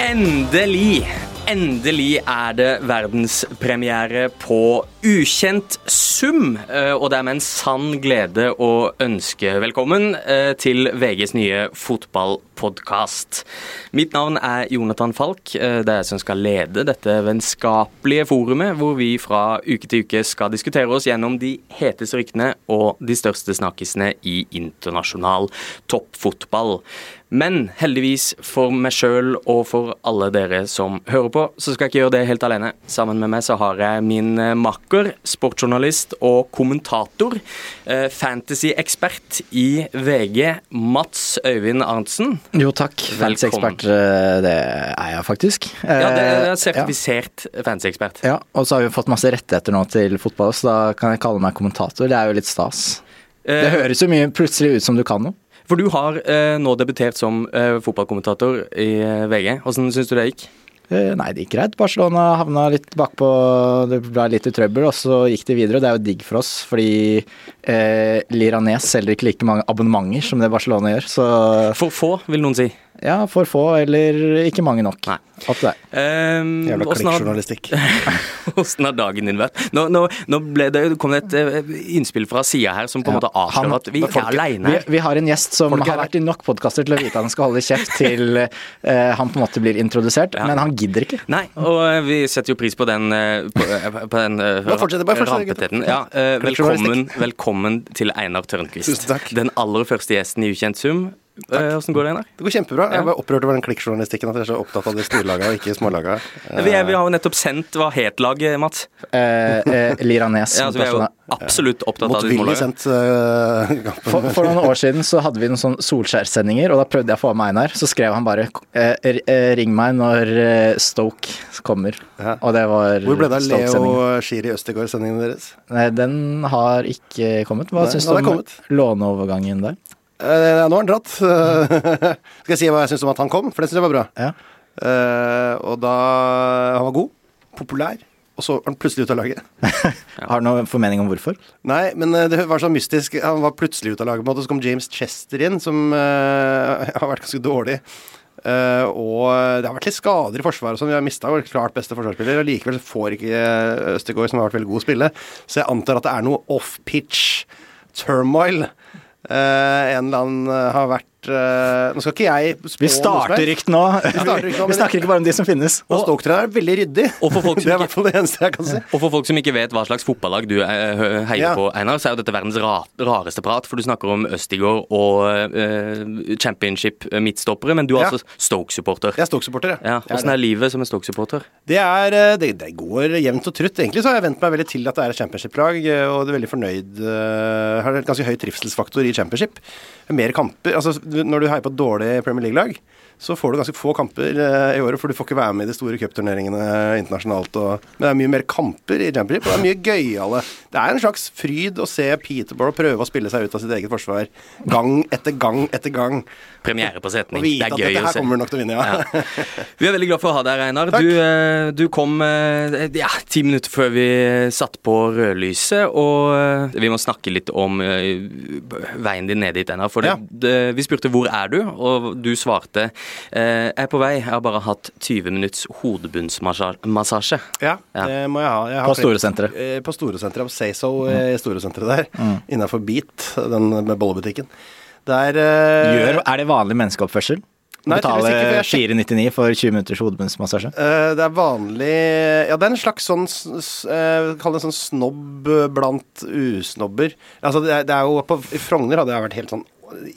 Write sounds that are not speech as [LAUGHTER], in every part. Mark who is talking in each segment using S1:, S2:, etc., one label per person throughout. S1: Endelig, endelig er det verdenspremiere på Ukjent sum. eh, Og det er med en sann glede å ønske velkommen eh, til VGs nye fotballpodkast. Mitt navn er Jonathan Falk. eh, Det er jeg som skal lede dette vennskapelige forumet, hvor vi fra uke til uke skal diskutere oss gjennom de heteste ryktene og de største snakkisene i internasjonal toppfotball. Men heldigvis for meg sjøl og for alle dere som hører på, så skal jeg ikke gjøre det helt alene. Sammen med meg så har jeg min eh, makker, sportsjournalist og kommentator, eh, fantasy-ekspert i VG, Mats Øyvind Arntzen.
S2: Jo takk, fansekspert, eh, det er jeg faktisk.
S1: Ja, det er
S2: Eh,
S1: sertifisert fantasy-ekspert.
S2: Ja, ja, og så har vi fått masse rettigheter nå til fotball, så da kan jeg kalle meg kommentator. Det er jo litt stas.
S1: Eh,
S2: Det høres jo mye plutselig ut som du kan noe.
S1: For du har eh, nå debutert som eh, fotballkommentator i eh, VG. Åssen syns du det gikk?
S2: Eh, Nei, det gikk greit. Barcelona havna litt bakpå, det ble litt i trøbbel, og så gikk de videre. og Det er jo digg for oss, fordi eh, Liranes selger ikke like mange abonnementer som det Barcelona gjør. Så
S1: For få, vil noen si.
S2: ja, for få eller ikke mange nok.
S1: Nei.
S2: Opp til deg.
S1: Um, [LAUGHS]
S3: Jævla klikkjournalistikk.
S1: Hvordan har dagen din vært? Nå, nå, nå ble det, kom det et eh, innspill fra sida her som på en
S2: Ja,
S1: måte avslører
S2: han-
S1: at vi ikke er
S2: folk-
S1: aleine her.
S2: Vi, vi har en gjest som
S1: Folk er
S2: har vært i nok podkaster til å vite at han skal holde kjeft
S1: [LAUGHS]
S2: til eh, han på en måte blir introdusert,
S1: Ja.
S2: men han gidder ikke.
S1: Nei, og eh, vi setter jo pris på den, eh, på, eh, på den eh,
S3: Bare fortsett, bare fortsett, gutter.
S1: rampeteten. Ja, eh, velkommen,
S2: Kulturjournalistikk.
S1: velkommen til Einar Tørnquist.
S3: Tusen takk.
S1: Den aller første gjesten i Ukjent sum. Åssen går det, Einar?
S3: Det går kjempebra.
S1: Ja.
S3: Jeg var opprørt over den klikkjournalistikken. At dere er så opptatt av de storlaga og ikke smålaga. Eh,
S1: Vi, er, vi har jo nettopp sendt hva het laget, Mats.
S2: Eh, eh, Liranes.
S1: Ja, altså, vi er jo
S2: Barcelona.
S1: absolutt opptatt av de
S3: Motvillig
S1: smålagene.
S3: sendt eh, kampen.
S2: For, for noen år siden så hadde vi noen sånn Solskjær-sendinger, og da prøvde jeg å få med Einar. Så skrev han bare eh, r- eh, 'ring meg når eh, Stoke kommer'.
S3: Ja.
S2: Og det var
S3: Hvor ble det av
S2: Stoke-sendingen.
S3: Leo Shiri Østegård, sendingen deres?
S2: Nei, Den har ikke kommet. Hva
S3: Nei,
S2: syns
S3: ja,
S2: du
S3: det er
S2: om
S3: kommet.
S2: låneovergangen der?
S3: Eh, nå har han dratt. [LAUGHS] Eh, Skal jeg si hva jeg syns om at han kom? For det syns jeg var bra.
S2: Ja.
S3: Eh, og da Han var god, populær, og så var han plutselig ute av laget.
S2: Har du noen formening om hvorfor?
S3: Nei, men eh, det var så mystisk. Han var plutselig ute av laget, på en måte. Så kom James Chester inn, som eh, [LAUGHS] har vært ganske dårlig. Eh, og det har vært litt skader i forsvaret og sånn. Vi har mista vår klart beste forsvarsspiller, og likevel så får ikke eh, Østegård, som har vært veldig god, spille. Så jeg antar at det er noe off-pitch turmoil. Eh, en eller annen eh, har vært eh, Nå skal ikke jeg spå
S2: Vi
S3: noe som
S2: starter
S3: helst.
S2: rykt nå.
S3: starter rykt nå,
S2: [LAUGHS] Vi
S3: men-
S2: snakker ikke bare om de som finnes.
S3: Og Stoke-treneren er veldig ryddig.
S1: Og for folk som
S3: [LAUGHS] det er i
S1: ikke-
S3: hvert fall det eneste jeg kan si.
S1: Og for folk som ikke vet hva slags fotballag du eh, hø- heier
S3: Ja.
S1: på, Einar, så er jo dette verdens ra rareste prat, for du snakker om Østigård og eh, championship eh, midtstoppere, men du er
S3: Ja.
S1: altså Stoke-supporter.
S3: Jeg er Stoke-supporter, jeg.
S1: Ja,
S3: Jeg er
S1: Åssen er livet som en Stoke-supporter?
S3: Det, er, eh, det, det går jevnt og trutt. Egentlig så har jeg vent meg veldig til at det er et championship-lag, eh, og det er veldig fornøyd eh, Har et ganske høy trivselsfaktor i championship. Mer kamper Altså, du- når du heier på et dårlig Premier League-lag, så får du ganske få kamper eh, i året, for du får ikke være med i de store cupturneringene internasjonalt. Og, men det er mye mer kamper i championship, og det er mye gøyale. Det er en slags fryd å se Peterborough prøve å spille seg ut av sitt eget forsvar gang etter gang etter gang.
S1: Premiere på
S3: Og
S1: setning.
S3: vite
S1: Det er
S3: at
S1: gøy
S3: dette
S1: å
S3: her
S1: se.
S3: kommer du nok til å vinne, ja.
S1: Vi er veldig glad for å ha deg, Einar. Du, eh, du kom eh, ja, ti minutter før vi satte på rødlyset, og eh, vi må snakke litt om eh, veien din ned dit, Einar. For det,
S3: Ja.
S1: det, vi spurte 'hvor er du?', og du svarte eh, 'jeg er på vei, jeg har bare hatt 20 minutts hodebunnsmassasje'.
S3: [LAUGHS] Ja,
S1: Ja.
S3: det må jeg ha. Jeg har
S2: På Storesenteret.
S3: flere- eh, På Storesenteret. På Sayso eh, i Storesenteret der. Innenfor Beat, den med bollebutikken. Der eh,
S2: Gjør, er det vanlig menneskeoppførsel?
S3: Nei,
S2: Betale
S3: tydeligvis ikke, for jeg sjek-
S2: 4,99 for 20 minutters hodebunnsmassasje?
S3: eh, det er vanlig Ja, det er en slags sånn s- s- eh, Kall det en sånn snobb eh, blant usnobber. Altså, det er, det er jo på, I Frogner hadde det vært helt sånn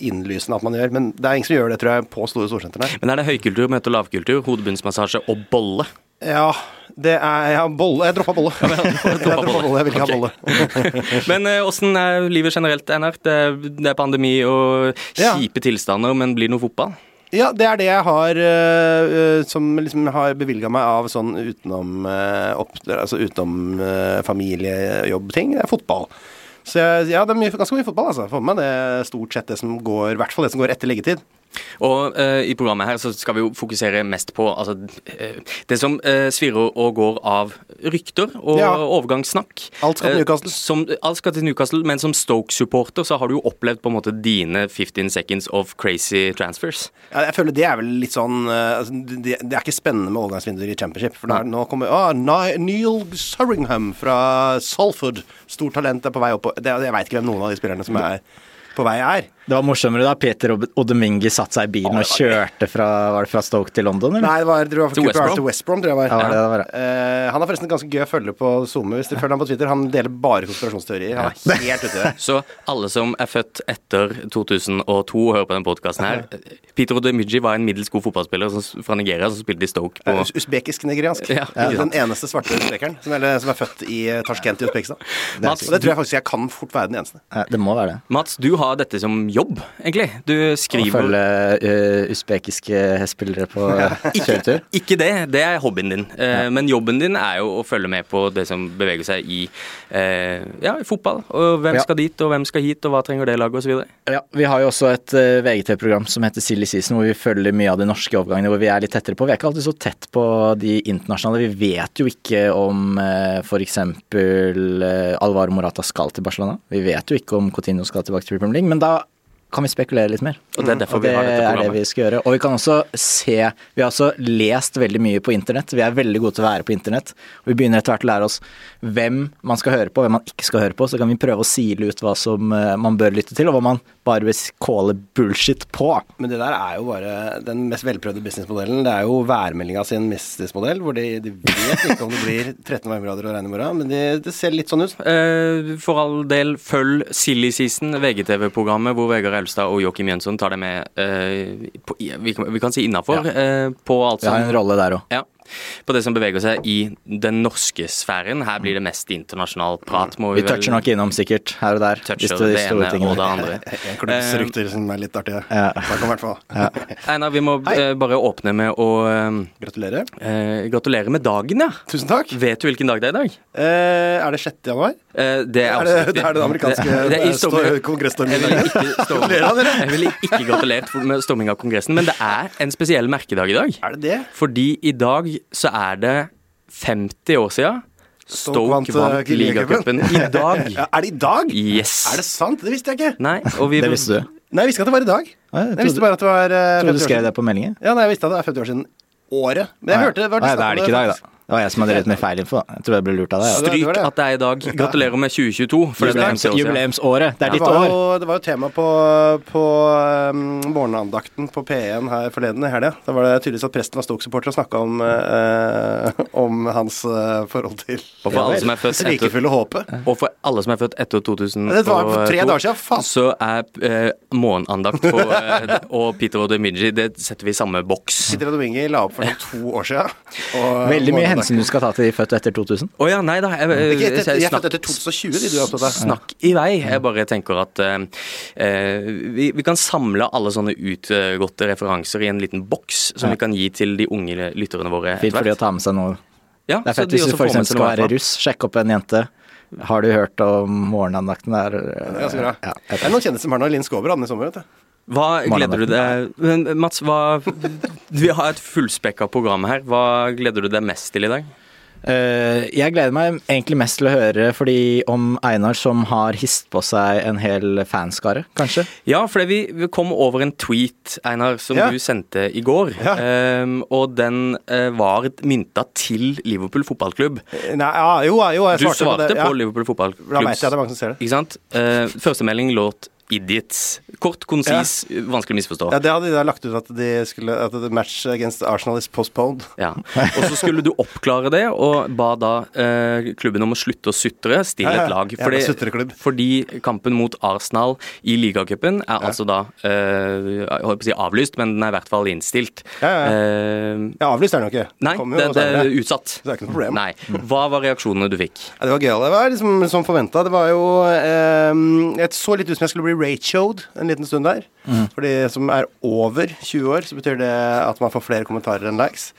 S3: innlysende at man gjør, men det er ingen som gjør det, tror jeg, på Store Storsenter der.
S1: Men er det høykultur, møte og lavkultur, hodebunnsmassasje og
S3: [LAUGHS]
S1: bolle?
S3: Ja, det er Jeg har bolle Jeg droppa bolle. [LAUGHS] jeg droppa
S1: bolle.
S3: bolle. Jeg vil
S1: Ok.
S3: ikke ha bolle.
S1: Men eh, åssen er livet generelt, Einar? Det, er- det er pandemi og
S3: Ja.
S1: kjipe tilstander, men blir det noe fotball?
S3: Ja, det er det jeg har øh, øh, som liksom har bevilga meg av sånn utenom, øh, opp, altså utenom øh, familiejobbting. Det er fotball. Så jeg, ja, det er mye, ganske mye fotball, altså. Får med meg det stort sett det som går, i hvert fall det som går etter leggetid.
S1: Og eh, i programmet her så skal vi jo fokusere mest på altså, eh, det som eh, svirrer og går av rykter og
S3: Ja.
S1: overgangssnakk.
S3: Alt skal
S1: Eh,
S3: til Newcastle.
S1: som, alt skal til Newcastle, men som Stoke-supporter så har du jo opplevd på en måte dine 15 seconds of crazy transfers.
S3: Ja, jeg føler det er vel litt sånn eh, altså, det, det er ikke spennende med overgangsvinduer i championship. For nå er- nå kommer ah, Ni- Neil Surringham fra Salford. Stort talent er på vei opp. og- Det, jeg veit ikke hvem noen av de spillerne som er på vei er.
S2: Det var morsommere da Peter Ob- Odomingi satte seg i bilen og kjørte fra, var det fra Stoke til London, eller?
S3: Nei, det var, det var
S1: Til West
S3: Cooper
S1: Brom.
S3: til West Brom, tror jeg var.
S2: Ja, det var det det var, ja.
S3: Eh, han har forresten ganske gøy å følge på SoMe, hvis dere følger ham på Twitter. Han deler bare konspirasjonsteorier. Han er helt ute i det.
S1: Så alle som er født etter 2002 og hører på denne podkasten her eh, Peter Odemiji var en middels god fotballspiller som- fra Nigeria som spilte i Stoke på
S3: Eh, us- Usbekisk-nigeriansk.
S1: Ja, ikke
S3: den eneste svarte usbekeren som, eller, som er født i eh, Tashkent i Usbekistan.
S1: Mats,
S3: Og det tror jeg faktisk jeg kan fort være den eneste.
S2: Nei, Eh, Det må være det.
S1: Mats, du har dette som jobb, egentlig. Du
S2: Å
S1: skriver
S2: følge eh, usbekiske spillere på kjøretur.
S1: Ikke det, det er hobbyen din. Eh, Men jobben din er jo å følge med på det som beveger seg i, eh, ja, i fotball. Og hvem
S2: Ja.
S1: skal dit, og hvem skal hit, og hva trenger det laget, osv.
S2: Ja, Vi har jo også et eh, VGTV-program som heter Silly Season, hvor vi følger mye av de norske overgangene hvor vi er litt tettere på. Vi er ikke alltid så tett på de internasjonale. Vi vet jo ikke om eh, f.eks. eh, Alvaro Morata skal til Barcelona. Vi vet jo ikke om Coutinho skal tilbake til Premier League, men da kan vi spekulere litt mer.
S1: Og det er derfor
S2: Mm, Og det
S1: vi har dette
S2: er det
S1: programmet.
S2: vi skal gjøre. Og vi kan også se Vi har også lest veldig mye på internett. Vi er veldig gode til å være på internett. Og vi begynner etter hvert å lære oss hvem man skal høre på, hvem man ikke skal høre på. Så kan vi prøve å sile ut hva som eh, man bør lytte til, og hva man bare vil calle bullshit på.
S3: Men det der er jo bare den mest velprøvde businessmodellen. Det er jo værmeldinga sin businessmodell, hvor de, de vet ikke om det blir 13 varmegrader og regn i morgen, men det, det ser litt sånn ut.
S1: Eh, For all del, følg Silly Season, VGTV-programmet hvor Vegard Elstad og Joakim Jønsson tar det med eh, på, i- vi, kan- vi kan si innafor eh, på alt
S2: Vi har en
S1: som
S2: rolle der òg.
S1: ja, på det som beveger seg i den norske sfæren. Her blir det mest internasjonal prat, må vi,
S2: Vi toucher nok innom sikkert her og der.
S1: toucher
S2: de
S1: det
S2: store
S1: ene
S2: tingene.
S1: og det andre.
S3: En klubbstruktur som er litt artig.
S2: Ja.
S3: Da kan i hvert fall
S1: Einar, vi må eh, bare åpne med å
S3: Gratulerer.
S1: eh, gratulere med dagen, ja.
S3: Tusen takk.
S1: Vet du hvilken dag det er i dag?
S3: Eh, er det 6. januar?
S1: Eh, det er,
S3: Er
S1: også
S3: det,
S1: riktig.
S3: det [LAUGHS] er den amerikanske eh,
S1: Det- det er i storming- Jeg ville
S3: kongressdormen?
S1: ikke, storm,
S3: Gratulerer, dere.
S1: jeg ville ikke gratulert for- med storming av Kongressen, men det er en spesiell merkedag i dag.
S3: Er det det?
S1: Fordi i dag så er det 50 år siden Stoke vant,
S3: eh,
S1: vant ligacupen. I
S3: [LAUGHS] Ja,
S1: dag.
S3: er det i dag?
S1: Yes.
S3: Er det sant? Det visste jeg ikke.
S1: Nei, og vi
S2: [LAUGHS] Det visste du.
S3: Nei, jeg visste ikke at det var i dag.
S2: Ja, jeg
S3: Jeg,
S2: trodde-
S3: visste bare at det var eh,
S2: Tror du
S3: 50 år
S2: skrev
S3: siden.
S2: det på meldingen?
S3: Ja, nei, jeg visste at det er 50 år siden året. Men jeg
S2: Nei.
S3: hørte det var
S2: Nei, det er det ikke i dag,
S3: faktisk.
S2: da. Det var jeg som hadde rett med feil info. da. Jeg tror jeg ble lurt av altså.
S3: Ja,
S2: det.
S3: det-
S1: Stryk
S3: det var det.
S1: at det er i dag. Gratulerer med 2022. For det er 50
S2: Ja.
S1: år siden.
S2: Jubileumsåret. Det er
S3: Det
S2: ditt
S3: var,
S2: år.
S3: jo, det var jo tema på, på um, morgenandakten på P1 her forleden i helga. Da var det tydeligvis at presten var Stoke-supporter og snakka om, eh, [LAUGHS] om hans eh, forhold til
S1: Og for alle som er født etter
S3: [LAUGHS] rikefulle håpet.
S1: Og for alle som er født etter 2002,
S3: Dette var for tre dager siden, faen.
S1: så er eh, morgenandakt på, eh, og Peter og Demiji, det setter vi i samme boks.
S3: Peter Domingi la opp for sånn to år sia.
S2: Veldig mye hensyn du skal ta til de født etter 2000.
S1: Å ja, nei da. Jeg, eh,
S3: Ikke
S1: jeg
S3: etter, de er født
S1: snakk-
S3: etter 2020, de du er opptatt av.
S1: Snakk i vei. Jeg bare tenker at eh, eh, vi, vi kan samle alle sånne utgåtte referanser i en liten boks som vi kan gi til de unge lytterne våre.
S2: Fint
S1: etter
S2: for de
S1: hvert.
S2: å ta med seg noe.
S1: Ja,
S2: Det er
S1: så
S2: fett
S1: de
S2: hvis
S1: også
S2: du for
S1: får med
S2: eksempel
S1: seg
S2: skal
S1: noe
S2: være
S1: annet.
S2: russ. Sjekk opp en jente. Har du hørt om morgenandakten der?
S3: Det er ganske bra.
S2: Ja,
S3: Det er noen kjendiser som har noe Linn Skåber hadde den i sommer, vet du.
S1: Hva gleder du deg Men, Mats, hva Vi har et fullspekka program her. Hva gleder du deg mest til i dag?
S2: Eh, jeg gleder meg egentlig mest til å høre fordi om Einar som har hist på seg en hel fanskare, kanskje.
S1: Ja, fordi vi, vi kom over en tweet, Einar, som
S3: Ja.
S1: du sendte i går.
S3: Ja.
S1: Ehm, og den eh, var mynta til Liverpool fotballklubb.
S3: Eh, Nei, ja, jo, ja, jo, jeg
S1: Du
S3: svarte, på
S1: svarte
S3: det.
S1: på,
S3: Ja.
S1: Liverpool
S3: Da vet jeg at det
S1: fotballklubb.
S3: er mange som ser det.
S1: Ikke sant? Uh, Førstemelding låt 'Idiots'. Kort, konsis, vanskelig å misforstå.
S3: Ja, Det hadde de da lagt ut at de skulle At the match against Arsenal is postponed.
S1: Ja. Og så skulle du oppklare det, og ba da eh, klubben om å slutte å sutre. Still
S3: Ja, ja.
S1: et lag.
S3: Jævla sutreklubb.
S1: fordi kampen mot Arsenal i ligacupen er altså da eh, Jeg holdt på å si avlyst, men den er i hvert fall innstilt.
S3: Ja, ja,
S1: Eh,
S3: Ja, avlyst er den jo ikke.
S1: Nei,
S3: Kommer
S1: det,
S3: jo
S1: det er
S3: senere.
S1: utsatt.
S3: det er ikke noe problem.
S1: Nei. Hva var reaksjonene du fikk?
S3: Ja, det var gøy. Det var liksom som forventa. Det var jo eh, Jeg så litt ut som jeg skulle bli ratioed en liten stund der.
S2: Mm.
S3: For de som er over 20 år, så betyr det at man får flere kommentarer enn likes.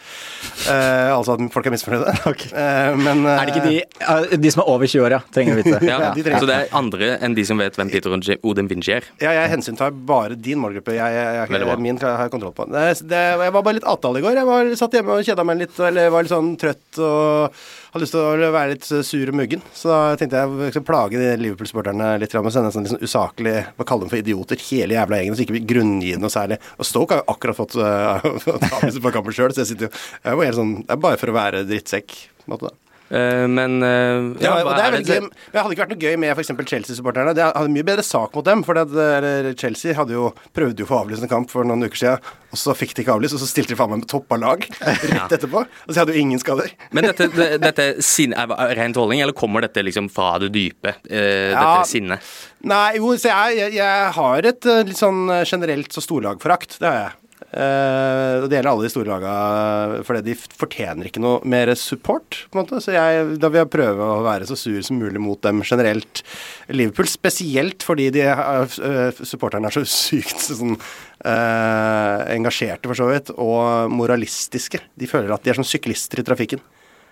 S3: Eh, altså at folk er misfornøyde.
S2: Ok.
S3: Eh, men eh,
S2: Er det ikke de, eh, de som er over 20 år, ja? Trenger å vite.
S1: [LAUGHS] Ja,
S3: Ja, de trenger-
S1: Så det er andre enn de som vet hvem Peter Odin Vinci er.
S3: Ja, jeg hensyntar bare din målgruppe. Jeg, jeg, jeg,
S1: Veldig bra.
S3: min har jeg kontroll på. Det, det, jeg var bare litt avtale i går. Jeg var, satt hjemme og kjeda meg litt, eller var litt sånn trøtt og hadde lyst til å være litt sur og muggen. Så da tenkte jeg jeg skal plage de Liverpool-supporterne litt grann, og sende en sånn liksom usaklig Hva kaller dem for idioter? Hele jævla gjengen, så ikke vi grunngir noe særlig. Og Stoke har jo akkurat [LAUGHS] fått uh, avgjørelse på kampen sjøl, så jeg sitter jo jeg var helt sånn, Det er bare for å være drittsekk. på en måte da.
S1: Eh, men eh,
S3: Ja, og
S1: hva
S3: det er
S1: er
S3: veldig gøy.
S1: det-
S3: Men Det hadde ikke vært noe gøy med f.eks. Chelsea-supporterne. Det hadde mye bedre sak mot dem. For det, at, eh, eller, Chelsea hadde jo, prøvde jo å få avlyst en kamp for noen uker siden, og så fikk de ikke avlyst, og så stilte de faen meg med toppa lag [LAUGHS] rett etterpå. Og så hadde jo ingen skader.
S1: Men dette, det- dette sin, er er rent holdning, eller kommer dette liksom fra det dype? eh,
S3: Ja.
S1: Dette sinnet?
S3: Nei, jo, så jeg, jeg, jeg har et eh, litt sånn eh, generelt så storlagforakt. Det har jeg. Eh, og det gjelder alle de store laga, fordi de f- fortjener ikke noe mer support. på en måte Så jeg, da vil jeg prøve å være så sur som mulig mot dem generelt. Liverpool spesielt fordi de er- eh, supporterne er så sykt sånn eh, engasjerte, for så vidt, og moralistiske. De føler at de er som syklister i trafikken.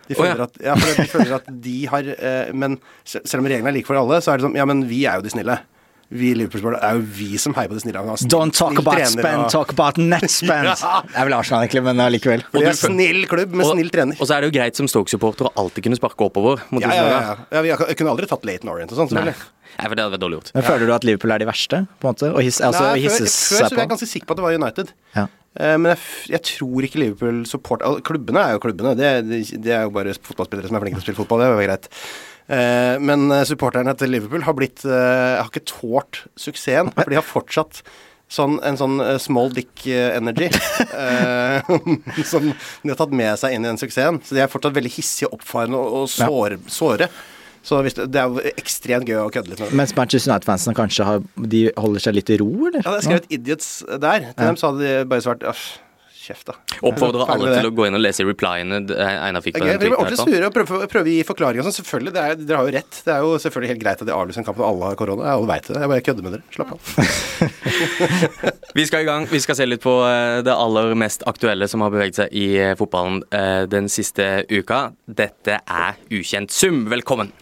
S3: De
S1: Å, ja.
S3: føler, at, ja, for de føler at de har eh, Men se- selv om reglene er like for alle, så er det sånn Ja, men vi er jo de snille. Vi i Liverpool-sportet er jo vi som heier på de snille. Han har snill-
S2: Don't talk
S3: snill
S2: about
S3: trener,
S2: spend,
S3: og-
S2: talk about
S1: [LAUGHS]
S2: net spend.
S3: Ja.
S2: Det er vel Arsenal, egentlig, men allikevel.
S3: For
S1: og
S3: det er
S1: du føl-
S3: snill klubb med
S1: Og,
S3: snill trener.
S1: og så er det jo greit som Stoke-supporter å alltid kunne sparke oppover. Mot
S3: Ja,
S1: disse
S3: ja, ja,
S1: lagene.
S3: ja. ja vi har- jeg kunne aldri tatt Leighton Orient og sånn,
S1: Nei.
S3: selvfølgelig.
S1: Nei, for det hadde vært dårlig gjort.
S2: Men Føler du at Liverpool er de verste, på en måte? Og hisse, altså,
S3: Nei, før,
S2: hisse
S3: før så var
S2: seg
S3: jeg
S2: på?
S3: ganske sikker på at det var United.
S2: Ja.
S3: Eh, Men jeg, f- jeg tror ikke Liverpool support al- Klubbene er jo klubbene. Det, det- det er jo bare fotballspillere som er flinke til å spille fotball. Det er jo greit. Eh, Men eh, supporterne til Liverpool har blitt eh, Har ikke tålt suksessen. For de har fortsatt sånn, en sånn eh, small dick eh, energy eh, [LAUGHS] som de har tatt med seg inn i den suksessen. Så de er fortsatt veldig hissige, oppfarende og, og
S2: Ja.
S3: sår, såre. Så hvis, det det er jo ekstremt gøy å kødde litt med det.
S2: Mens Manchester United-fansen kanskje har, de holder seg litt i ro, eller?
S3: Ja, det er skrevet 'idiots' der. Til dem så hadde de bare svart «Åh, Kjeft, da.
S1: Oppfordrer
S3: Ferdig med
S1: alle
S3: det.
S1: til å gå inn og lese replyene eh, Einar fikk fra
S3: Det er
S1: den
S3: gøy, Dere blir
S1: tweeten. etterpå.
S3: ordentlig sure og prøver, prøver å gi forklaringer og sånn. Selvfølgelig, det er, Dere har jo rett. Det er jo selvfølgelig helt greit at de avlyser en kamp når alle har korona. Alle veit det. Jeg bare kødder med dere. Slapp av.
S1: Vi skal i gang. Vi skal se litt på eh, det aller mest aktuelle som har beveget seg i eh, fotballen eh, den siste uka. Dette er Ukjent sum. Velkommen.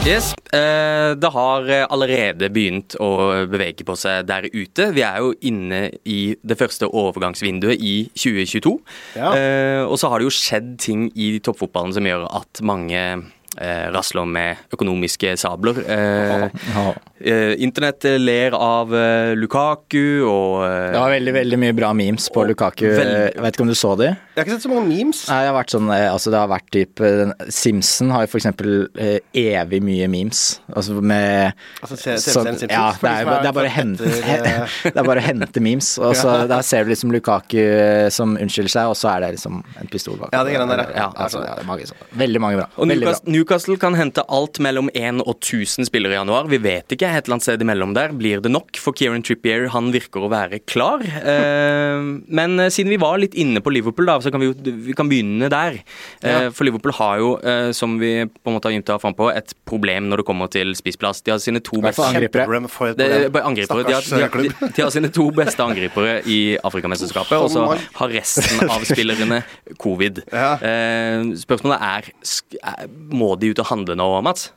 S1: Yes, eh, Det har eh, allerede begynt å bevege på seg der ute. Vi er jo inne i det første overgangsvinduet i 2022.
S3: Ja.
S1: Eh, Og så har det jo skjedd ting i toppfotballen som gjør at mange eh, rasler med økonomiske sabler. Eh,
S2: Ja.
S1: Eh, Internett eh, ler av eh, Lukaku og eh,
S2: Det var veldig veldig mye bra memes på
S1: Og
S2: Lukaku.
S1: veldig-
S2: Jeg vet ikke om du så de?
S3: Jeg har ikke sett så mange memes.
S2: Nei, det har vært sånn, eh, altså det har vært typ eh, den- Simpson har jo for eksempel eh, evig mye memes. Altså med
S3: Altså, se- se-
S2: sånn-
S3: se- se- se-
S2: Ja,
S3: for
S2: det er,
S3: de som
S2: jo- det er bare å
S3: født
S2: hente [LAUGHS]
S3: etter, eh,
S2: Det er bare å hente memes. Og
S3: [LAUGHS]
S2: så der ser du liksom Lukaku eh, som unnskylder seg, og så er det liksom en pistol bak.
S3: Ja, det greiene der,
S2: ja.
S3: ja.
S2: Altså, ja, det er mange sånne. Veldig mange bra.
S1: og
S2: Veldig bra.
S1: Newcastle, Newcastle kan hente alt mellom 1 og 1000 spillere i januar. Vi vet ikke. Et eller annet sted imellom der blir det nok, for Kieran Trippier han virker å være klar. Eh, [LAUGHS] men eh, siden vi var litt inne på Liverpool, da, så kan vi jo vi kan begynne der. Eh, For Liverpool har jo, eh, som vi på en måte har gymta frampå, et problem når det kommer til spissplass. De har sine to
S2: hvert fall
S1: beste-
S2: angripere.
S3: Kjempeproblem for et
S1: Det,
S3: problem.
S1: bare angripere. De har,
S3: Stakkars eh,
S1: de, har,
S3: klubb.
S1: de, de har sine to beste angripere i Afrikamesterskapet, og så har resten av spillerne covid.
S3: [LAUGHS] Ja.
S1: Eh, spørsmålet er, sk- er Må de ut og handle nå, Mats?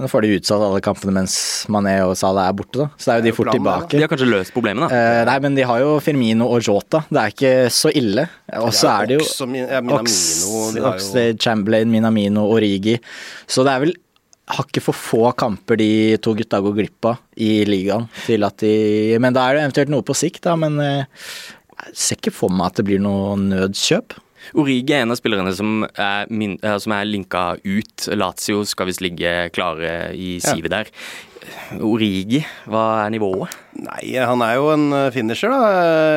S2: Nå får de utsatt alle kampene mens Mané og Salah er borte, da. Så er jo de
S3: Det er jo
S2: fort
S3: planen, det, da.
S2: tilbake.
S1: De har kanskje løst problemet, da.
S2: Eh, nei, men de har jo Firmino og Jota. Det er ikke så ille. Og så er det jo
S3: Ox og Min- ja, Minamino, de har jo-
S2: Oxlade, Chamberlain, Minamino, Origi. Så det er vel hakket for få kamper de to gutta går glipp av i ligaen. Til at de, men da er det eventuelt noe på sikt, da. Men eh, jeg ser ikke for meg at det blir noe nødkjøp.
S1: Origi er en av spillerne som er, min, eh, som er linka ut. Lazio skal visst ligge klare i sivet der. Origi, hva er nivået?
S3: Nei, han er jo en eh, finisher, da.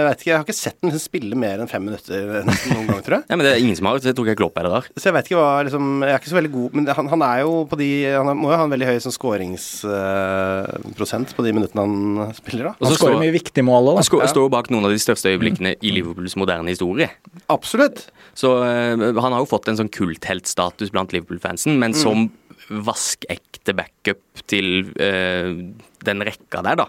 S3: Jeg vet ikke, jeg har ikke sett ham spille mer enn fem minutter eh, nesten noen gang, tror jeg.
S1: Ja, men Det er ingen som har det. Jeg tror ikke Klopp er det der.
S3: Så jeg vet ikke hva liksom, Jeg er ikke så veldig god Men han, han er jo på de Han er- må jo ha en veldig høy sånn skåringsprosent på de minuttene han spiller, da.
S1: Og
S2: Han
S1: så
S2: skårer
S1: står-
S2: mye viktige mål òg,
S1: Han
S2: da.
S1: sko- står jo bak noen av de største øyeblikkene i Liverpools moderne historie.
S3: Absolutt.
S1: Så eh, han har jo fått en sånn kultheltstatus blant Liverpool-fansen, men som
S3: Mm.
S1: vaskekte backup til eh, den rekka der, da.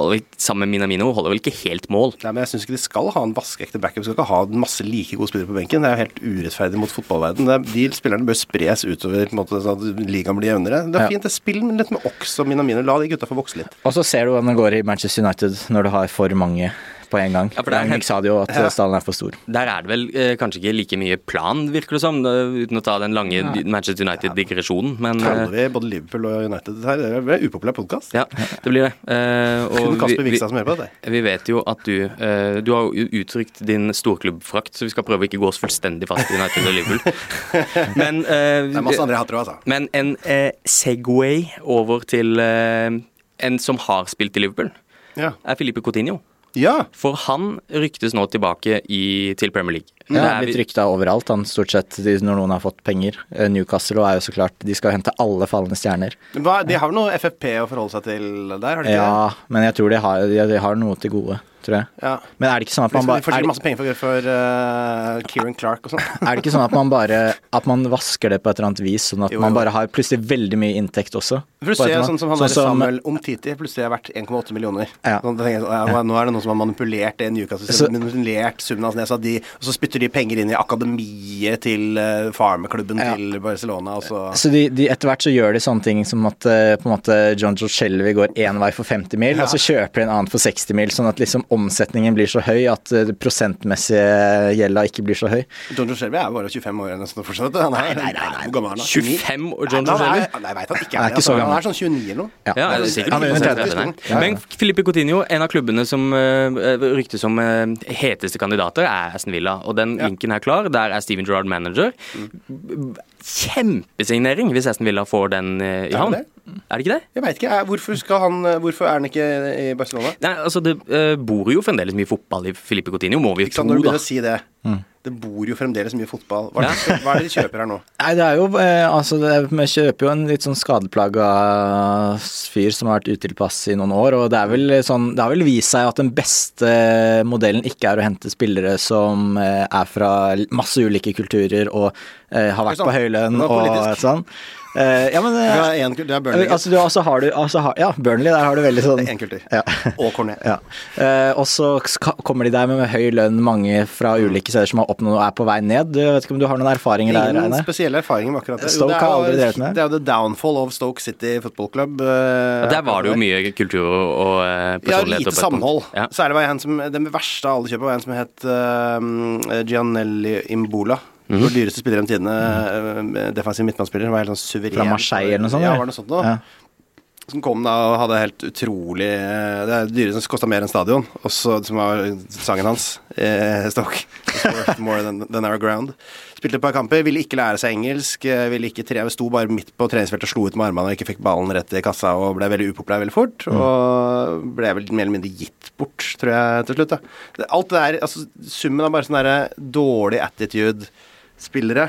S1: Og sammen med Minamino holder vel ikke helt mål.
S3: Nei, men jeg syns ikke de skal ha en vaskeekte backup. De skal ikke ha en masse like gode spillere på benken. Det er jo helt urettferdig mot fotballverden. Det er, de spillerne bør spres utover på en måte, sånn at ligaen blir jevnere. Det er
S2: Ja.
S3: fint, det spill men litt med Ox og Minamino. La de gutta få vokse litt.
S2: Og så ser du hvordan det går i Manchester United når du har for mange på en gang.
S1: Ja, for det er
S2: Ragnhild
S1: helt-
S2: sa det jo at
S3: Ja.
S2: stallen er for stor.
S1: Der er det vel eh, kanskje ikke like mye plan, virker det som, eh, uten å ta den lange di- Manchester United-digresjonen, men eh,
S3: Kaller vi både Liverpool og United her? Det er en veldig upopulær podkast.
S1: ja, det blir det. Eh,
S3: Kun
S1: og vi,
S3: Kasper
S1: vi,
S3: Wikstad som hører på det.
S1: vi vet jo at du eh, Du har jo uttrykt din storklubbfrakt, så vi skal prøve å ikke gå oss fullstendig fast i United og Liverpool.
S3: [LAUGHS]
S1: Men, eh,
S3: Det er masse andre jeg hater òg, altså.
S1: men en eh, Segway over til eh, en som har spilt i Liverpool,
S3: Ja.
S1: er Filipe Coutinho.
S3: ja.
S1: For han ryktes nå tilbake i, til Premier League.
S2: Ja,
S1: Det er
S2: blitt
S1: vi-
S2: rykta overalt, han stort sett de- når noen har fått penger. Eh, Newcastle er jo så klart De skal hente alle falne stjerner.
S3: Men Hva, de har vel noe FFP å forholde seg til der, har de ikke det?
S2: Ja, men jeg tror de har, de, de har noe til gode, tror jeg.
S3: Ja.
S2: Men er det ikke sånn at man
S3: Liksom, de
S2: bare
S3: får
S2: er
S3: sikkert
S2: det,
S3: masse penger for, for eh, Kieran Clark og sånn.
S2: er det ikke sånn at man bare At man vasker det på et eller annet vis, sånn at
S3: Jo,
S2: man
S3: jo.
S2: bare har plutselig veldig mye inntekt også?
S3: For du
S2: På et
S3: ser
S2: eller
S3: sånn
S2: annet-
S3: som han
S2: sånn
S3: der
S2: som-
S3: Samuel Omtiti plutselig er verdt 1,8 millioner.
S2: Ja.
S3: Sånn, da tenker jeg, sånn, ja, nå er det noen som har manipulert det Newcastle,
S2: Så-
S3: manipulert summen hans ned, så at de, og så spytter de penger inn i akademiet til uh, farmerklubben
S2: Ja.
S3: til Barcelona, og så
S2: Så de, de, etter hvert så gjør de sånne ting som at eh, på en måte John Joe Shelby går én vei for 50 mil, og så kjøper de en annen for 60 mil, sånn at liksom omsetningen blir så høy at eh, det prosentmessige gjelda ikke blir så høy.
S3: John Joe Shelby er bare 25 år nesten fortsatt. Han er,
S2: Nei, nei, nei, nei.
S3: Hvor gammel er han?
S1: 25 og John
S3: Nei, han
S1: Joe
S3: er- Nei, jeg vet han ikke er,
S2: Han er ikke
S3: altså,
S2: så gammel.
S3: Han er sånn 29 eller noe.
S1: Ja,
S2: Ja.
S3: Nei,
S1: er det
S3: det
S1: sikkert.
S3: er sikkert.
S2: Han er
S1: Ikke
S2: under
S1: sant,
S2: 30.
S1: det er det.
S2: Ja, ja.
S1: Men Filippe Coutinho, en av klubbene som eh, ryktes som eh, heteste kandidater, er Aston Villa. Og den
S3: Ja.
S1: linken er klar. Der er Steven Gerrard manager. Kjempesignering hvis Aston Villa får den eh, i
S3: det
S1: havn.
S3: det?
S1: Er det ikke det?
S3: Jeg veit ikke. er- Hvorfor, skal han, eh, hvorfor er han ikke eh, i Barcelona?
S1: Nei, altså Det eh, bor jo fremdeles mye fotball i Filippe Coutinho, må vi
S3: Ikke
S1: tro,
S3: sant, når du
S1: da.
S3: begynner å si det.
S2: Mm.
S3: Det bor jo fremdeles mye fotball. Hva er det, hva er det de kjøper her nå?
S2: Nei, det er jo eh, Altså, det, vi kjøper jo en litt sånn skadeplaga fyr som har vært utilpass i noen år, og det er vel sånn Det har vel vist seg at den beste modellen ikke er å hente spillere som eh, er fra masse ulike kulturer og eh, har vært
S3: Det er sant.
S2: på høylønn
S3: Det var
S2: og
S3: politisk.
S2: sånn. Eh, ja, men eh,
S3: Det er, en, det er Burnley.
S2: Altså, du, altså har du altså har, Ja, Burnley, der har du veldig sånn
S3: Det er en kultur.
S2: Ja.
S3: Og Cornet.
S2: ja. Eh, og så ska- kommer de der med, med høy lønn, mange fra ulike steder som har oppnådd og er på vei ned. Du vet ikke om du har noen erfaringer der?
S3: Ingen
S2: Reine?
S3: spesielle erfaringer med akkurat det. Jo,
S2: Stoke
S3: det er
S2: har
S3: jo-
S2: aldri drevet med det.
S3: Det er jo the downfall of Stoke City Football Club. eh,
S1: Og Der var det jo mye kultur og eh,
S3: Ja,
S1: personlighet.
S3: lite
S1: og på et punkt.
S3: samhold.
S1: Ja.
S3: Særlig var jeg en som, Den verste av alle kjøpene var en som het eh, Gianelli Imbola.
S1: Mhm.
S3: Vår dyreste spiller gjennom tidene. eh, defensiv midtbanespiller. Var helt sånn suveren.
S2: Fra Marseille eller noe sånt,
S3: Ja,
S2: eller?
S3: var det noe sånt noe.
S2: Ja.
S3: Som kom da og hadde helt utrolig eh, Det er det dyreste som kosta mer enn stadion. Og så som var sangen hans. Eh, Stoke. It's worth More than, than our ground. Spilte et par kamper, ville ikke lære seg engelsk. eh, ville ikke tre, Sto bare midt på treningsfeltet og slo ut med armene og ikke fikk ballen rett i kassa og ble veldig upopulær veldig fort. Og ble vel mer eller mindre gitt bort, tror jeg, til slutt. da. Det- Alt det der, altså Summen av bare sånn derre dårlig attitude-spillere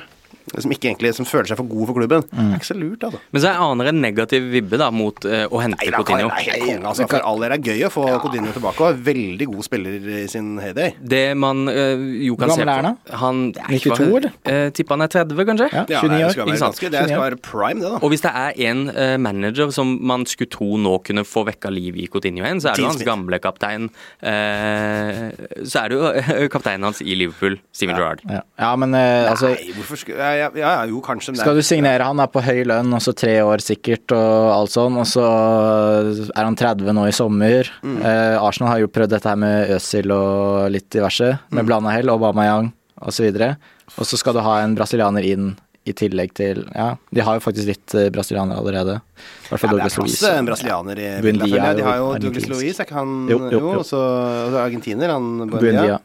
S3: som ikke egentlig, som føler seg for gode for klubben, er ikke så lurt, altså.
S1: Men så jeg aner en negativ vibbe da mot eh, å hente
S3: Nei, det er-
S1: Coutinho.
S3: det er helt konge, altså. For all del er gøy å få Coutinho tilbake. Og er veldig god spiller i sin heyday.
S1: Det man eh, jo kan
S2: Hvor
S1: se
S2: gammel er
S1: på
S2: han
S1: Han
S2: 92, eller?
S1: Uh, Tipper han er 30, kanskje?
S2: Ja.
S3: Ja,
S2: 29
S3: det
S2: år,
S3: skal
S1: ikke
S3: være,
S1: sant?
S3: ganske, det
S2: 29
S3: skal være prime, det, da.
S1: Og hvis det er en eh, manager som man skulle tro nå kunne få vekka liv i Coutinho igjen, så er det
S3: Dean
S1: jo hans
S3: Smith.
S1: gamle kaptein eh, Så er det jo eh, kapteinen hans i Liverpool, Steven Gerrard.
S2: Ja. ja, men eh, altså
S3: Nei, hvorfor skulle ja, ja, ja, jo, kanskje, men det er-
S2: skal du signere han er på høy lønn, og så tre år sikkert, og alt sånn, og så eh, er han 30 nå i sommer.
S3: Mm.
S2: Eh, Arsenal har jo prøvd dette her med Øzil og litt diverse,
S3: Mm.
S2: med blanda hell, Aubameyang osv. Og så skal du ha en brasilianer inn i tillegg til Ja, de har jo faktisk litt eh, brasilianere allerede. I hvert fall
S3: Ja, det
S2: Douglas
S3: er plass
S2: Luiz.
S3: til en brasilianer i
S2: Buendia
S3: Villa, føler jeg.
S2: er
S3: De
S2: jo
S3: har jo Douglas
S2: argentinsk.
S3: Louis, er ikke han
S2: Jo,
S3: jo,
S2: jo, jo.
S3: og så og så er argentiner, han Buendia.
S2: Buendia.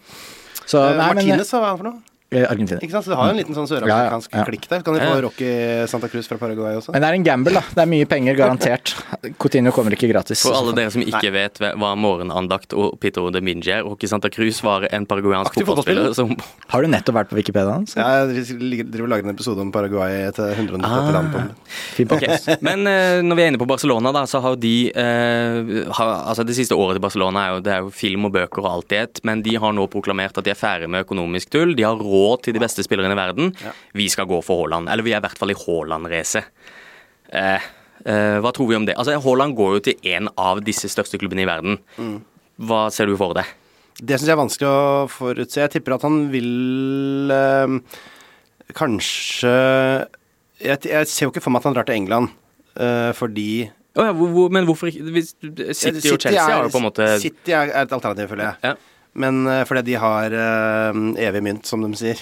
S2: Så,
S3: Eh,
S2: nei, men
S3: Martinez, hva er han for noe?
S2: eh, Argentina.
S3: Ikke sant? Så du har jo en liten sånn
S2: Ja,
S3: søramerikansk
S2: Eh. ja, ja.
S3: klikk der. Så Kan de
S1: Ja,
S3: få
S1: ja.
S3: Rocky Santa Cruz fra Paraguay også?
S2: Men det er en gamble, da. Det er mye penger,
S3: [LAUGHS]
S2: garantert. Coutinho kommer ikke gratis.
S1: For alle dere som ikke vet hva morgenandakt og Peter Ode Minji er, Rocky Santa Cruz var en paraguayansk
S3: Aktiv
S1: fotballspiller som
S2: Har du nettopp vært på Wikipedia hans?
S3: Ja, jeg ligger- driver og lager en episode om Paraguay til 130
S2: Ah.
S3: land på
S2: Fin
S1: Ok, Men eh, når vi er inne på Barcelona, da, så har jo de eh, har, altså Det siste året til Barcelona er jo, det er jo film og bøker og alt i ett, men de har nå proklamert at de er ferdig med økonomisk tull. De har råd gå til de beste spillerne i verden. Vi skal gå for Haaland. Eller vi er i hvert fall i Haaland-racet. Eh, eh, hva tror vi om det? Altså, Haaland går jo til en av disse største klubbene i verden.
S3: Mm.
S1: Hva ser du for deg?
S3: Det syns jeg er vanskelig å forutse. Jeg tipper at han vil eh, kanskje jeg, jeg ser jo ikke for meg at han drar til England, eh, fordi
S1: Å ja, hvor, hvor, men hvorfor ikke hvis, City, og Chelsea
S3: er-
S1: har jo på en måte
S3: City er, er et alternativ, føler jeg.
S1: ja,
S3: Men eh, fordi de har eh, evig mynt, som de sier.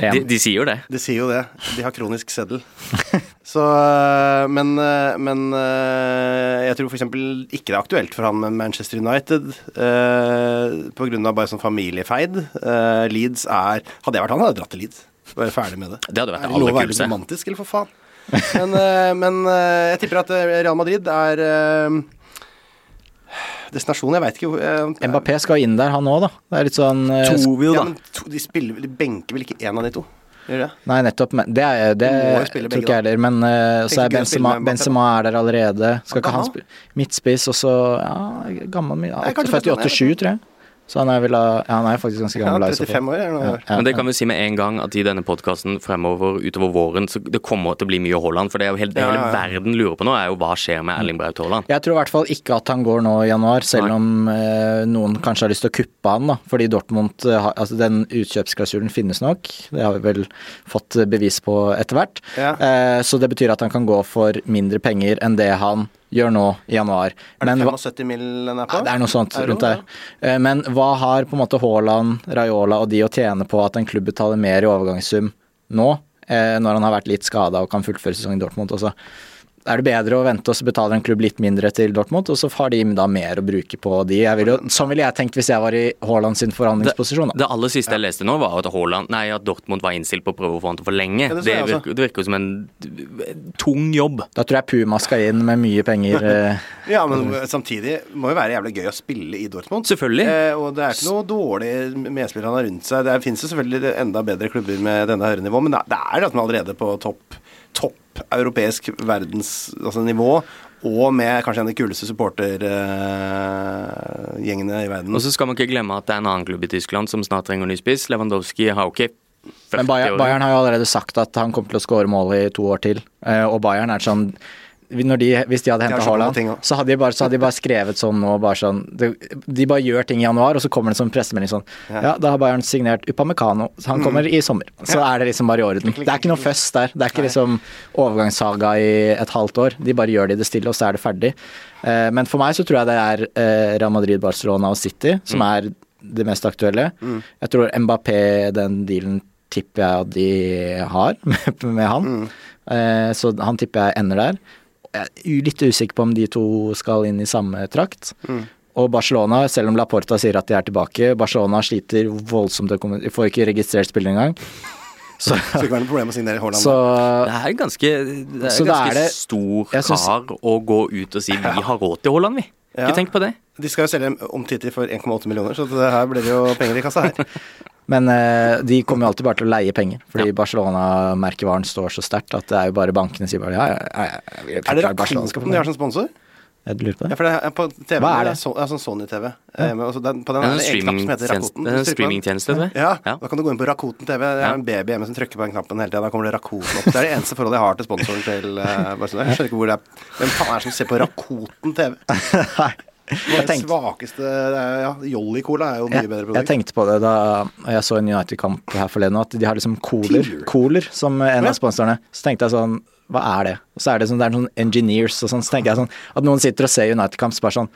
S1: de,
S2: En.
S1: de sier jo det.
S3: De sier jo det. De har kronisk seddel. [LAUGHS] Så eh, Men, eh, men eh, jeg tror f.eks. ikke det er aktuelt for han med Manchester United eh, på grunn av bare sånn familiefeid. Eh, Leeds er Hadde jeg vært han, hadde jeg dratt til Leeds. Bare ferdig med det.
S1: Det hadde vært
S3: Er
S1: det
S3: det lov å
S1: aller
S3: være litt
S1: kuleste.
S3: romantisk, eller for faen? Men, eh, men eh, jeg tipper at eh, Real Madrid er eh, Destinasjonen, jeg veit ikke hvor eh,
S2: Mbappé skal inn der, han òg, da. Det er litt sånn eh,
S1: To vil,
S3: ja,
S1: da.
S3: men to, de, spiller, de benker vel ikke én av de to? Gjør de det?
S2: Nei, nettopp. Men det, er, det
S3: Du må jo
S2: tror
S3: spille
S2: ikke
S3: begge, da.
S2: jeg heller. Men eh, så
S3: Tenkte
S2: er
S3: ikke å
S2: Benzema,
S3: spille med Mbappé, da.
S2: Benzema er der allerede. Skal
S3: Kan
S2: ikke han
S3: han?
S2: spille midtspiss, og så ja, gammel ja,
S3: Nei, kanskje
S2: Født i
S3: Benzema er
S2: 87, tror jeg. Så han er vel av ja, Han er faktisk ganske
S3: Ja,
S2: gammel. da, i så fall.
S3: 35 år er det nå.
S2: Ja, ja,
S1: Men det kan vi si med en gang at i denne podkasten fremover utover våren, så det kommer til å bli mye Haaland. For det, er jo hele, det
S3: Ja,
S1: hele
S3: ja, ja.
S1: verden lurer på nå, er jo hva skjer med Erling Braut Haaland.
S2: Jeg tror i hvert fall ikke at han går nå i januar, selv
S1: Nei.
S2: om eh, noen kanskje har lyst til å kuppe han, da. Fordi Dortmund eh, har Altså, den utkjøpsklausulen finnes nok, det har vi vel fått eh, bevis på etter hvert.
S3: Ja.
S2: Eh, så det betyr at han kan gå for mindre penger enn det han gjør nå i januar.
S3: Er det
S2: hva-
S3: 75 mil den er
S2: Ja,
S3: på?
S2: det er noe sånt
S3: Euro,
S2: rundt der. Eh, Men hva har på en måte Haaland, Raiola og de å tjene på at en klubb betaler mer i overgangssum nå, eh, når han har vært litt skada og kan fullføre sesongen i Dortmund? Også. Er det bedre å vente og så betaler en klubb litt mindre til Dortmund, og så har de da mer å bruke på de? Jeg vil jo, sånn ville jeg tenkt hvis jeg var i Haaland sin forhandlingsposisjon. Da.
S1: Det aller siste jeg leste nå, var at, Haaland, nei, at Dortmund var innstilt på å prøve å få han til å forlenge.
S3: Ja, det så
S1: det,
S3: jeg også.
S1: virker, det virker jo som en tung jobb.
S2: da tror jeg Puma skal inn med mye penger. [LAUGHS] eh.
S3: Ja, men samtidig må jo være jævlig gøy å spille i Dortmund.
S1: Selvfølgelig.
S3: Eh, og det er ikke noe dårlig medspiller han har rundt seg. Det fins jo selvfølgelig enda bedre klubber med denne høyere nivå, men det er- det er at man allerede på topp, topp europeisk verdensnivå, altså nivå, og med kanskje en av de kuleste supportergjengene i verden.
S1: Og så skal man ikke glemme at det er en annen klubb i Tyskland som snart trenger ny spiss. Lewandowski har jo ikke 40
S2: Men Bayern,
S1: år.
S2: Bayern har jo allerede sagt at han kommer til å skåre mål i to år til. Eh, Og Bayern er sånn når de, Hvis de hadde
S3: har
S2: henta
S3: skjønt alle
S2: Haaland,
S3: ting, ja.
S2: så hadde de bare, så hadde de bare skrevet sånn nå, bare sånn det- De bare gjør ting i januar, og så kommer det som pressemelding sånn Ja, da har Bayern signert Upamecano. Så han kommer i sommer. Så er det liksom bare i orden. Det er ikke noe fuss der. Det er ikke liksom overgangssaga i et halvt år. De bare gjør det i det stille, og så er det ferdig. Eh, Men for meg så tror jeg det er eh, Real Madrid, Barcelona og City som er det mest aktuelle. Jeg tror Mbappé, den dealen tipper jeg at de har [LAUGHS] med, med han. Eh, så han tipper jeg ender der. Jeg er u- litt usikker på om de to skal inn i samme trakt.
S3: Mm.
S2: Og Barcelona, selv om Laporta sier at de er tilbake, Barcelona sliter voldsomt økonomisk, de får ikke registrert spillere engang.
S3: [LAUGHS]
S2: Så,
S3: Så det kan være noe problem å signere Haaland.
S2: så
S1: Det er ganske, det er
S2: Så
S1: en
S2: da
S1: ganske
S2: er det-
S1: stor
S2: Jeg synes-
S1: kar å gå ut og si 'vi har råd til Haaland', vi.
S3: Ja.
S1: Ikke tenk på det.
S3: De skal jo selge dem omsider for 1,8 millioner, så det her blir det jo penger
S2: [LAUGHS]
S3: i kassa her.
S2: Men eh, de kommer jo alltid bare til å leie penger, fordi Barcelona-merkevaren står så sterkt at det er jo bare bankene sier bare ja, ja, ja, ja, ja,
S3: Er det
S2: Barcelona skal få
S3: Rakuten de har
S2: mer.
S3: som sponsor?
S2: Jeg lurer på
S3: Ja,
S2: det.
S3: for det er på TV
S2: Hva er det?
S3: så, ja, sånn Sony-TV. Eh, men også den- på den
S1: Det er
S3: er
S1: en
S3: det en knapp som heter
S1: streamingtjeneste,
S3: Rakuten.
S1: det er en
S3: Hvis du trykker på den-
S1: streamingtjeneste, tror jeg.
S3: Ja,
S1: Ja.
S3: da kan du gå inn på Rakuten TV. Det er
S1: Ja.
S3: en baby hjemme som trykker på den knappen hele tida. Da kommer det Rakuten opp. Det er det eneste forholdet jeg har til sponsoren til eh, Barcelona. Jeg skjønner ikke hvor det er Hvem faen er det som ser på Rakuten TV? Det er
S2: [LAUGHS] Jeg
S3: det
S2: tenkte-
S3: svakeste det er- Ja, Jolly Cola er jo mye
S2: Jeg,
S3: bedre
S2: jeg
S3: produkt.
S2: tenkte på det da jeg så en United-kamp her forleden, at de har liksom Cooler,
S3: Cooler.
S2: cooler som en
S3: Ja.
S2: av sponsorene. Så tenkte jeg sånn, hva er det? Og så er det sånn, det er sånn engineers og sånn, så tenker jeg sånn, at noen sitter og ser United-kamp, så bare sånn,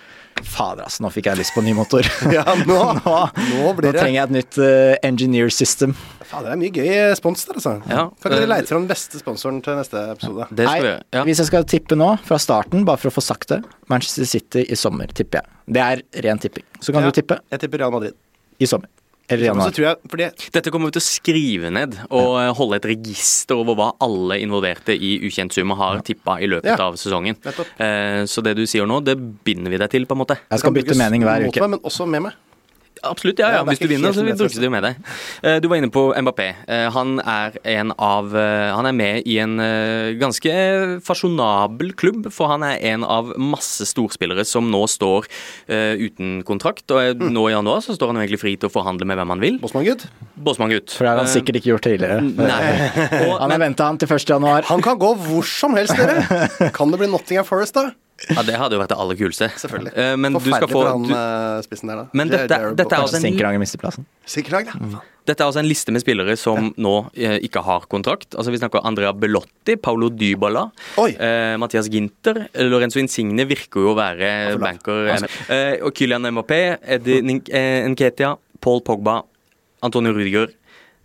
S2: fader ass, nå fikk jeg lyst på en ny
S3: [LAUGHS]
S2: motor.
S3: [LAUGHS]
S2: [LAUGHS]
S3: Ja, nå- nå blir det-
S2: trenger jeg et nytt eh, engineer system.
S3: Faen, det er mye gøy spons der, altså.
S1: Ja.
S3: Kan ikke dere
S1: Eh,
S3: leite fram den beste sponsoren til neste episode?
S1: Det skal vi
S2: Nei,
S1: gjøre. Ja.
S2: hvis jeg skal tippe nå, fra starten, bare for å få sagt det, Manchester City i sommer, tipper jeg. Det er ren tipping. Så kan
S3: Ja,
S2: du tippe
S3: Jeg tipper Real Madrid.
S2: i sommer. Eller i
S3: Og
S2: januar.
S3: så tror jeg, fordi
S1: Dette kommer vi til å skrive ned og eh, holde et register over hva alle involverte i Ukjent sum har tippa i løpet
S3: Ja.
S1: av sesongen.
S3: Nettopp.
S1: Eh, Så det du sier nå, det binder vi deg til, på en måte.
S2: Jeg skal
S3: det kan
S2: bytte
S3: brukes
S2: mening hver
S3: mot
S2: uke.
S3: Meg, men også med meg.
S1: Absolutt, ja.
S3: Ja,
S1: ja.
S3: det er
S1: Hvis du
S3: ikke
S1: vinner,
S3: helt
S1: så
S3: som jeg
S1: bruker
S3: synes.
S1: du jo med deg. Eh, Du var inne på Mbappé. Eh, Han er, en av, eh, han er med i en eh, ganske fasjonabel klubb, for han er en av masse storspillere som nå står eh, uten kontrakt. Og
S3: Mm.
S1: eh, nå i januar så står han jo egentlig fri til å forhandle med hvem han vil.
S3: Bosman-gutt.
S1: Båsmann-gutt.
S2: For det har
S3: Eh,
S2: han sikkert ikke gjort
S3: mm,
S2: tidligere.
S1: Eh,
S2: [LAUGHS]
S1: Nei. Og,
S2: Han har
S1: men,
S2: venta han til 1. januar.
S3: Han kan gå hvor som helst, dere. Kan det bli Nottingham Forest, da?
S1: ja, det hadde jo vært det aller kuleste.
S3: Selvfølgelig.
S1: Eh, Men du skal
S3: Forferdelig
S1: få
S3: for han
S1: du,
S3: eh, spissen der, da.
S1: Men dette-
S3: Jared
S1: dette er
S3: Bowen.
S1: altså-
S2: Sinkeranger mister plassen.
S3: Sikkert lag, da.
S1: Dette er altså en liste med spillere som nå eh, ikke har kontrakt. Altså Vi snakker Andrea Belotti, Paulo Dybala,
S3: Oi.
S1: eh, Mathias Ginter. eh, Lorenzo Insigne virker jo å være
S3: for Altså- Mm. lav.
S1: banker. Eh, og Kylian Mbappé, Eddie Nin- eh, Nketia, Paul Pogba, Antonio Rudiger,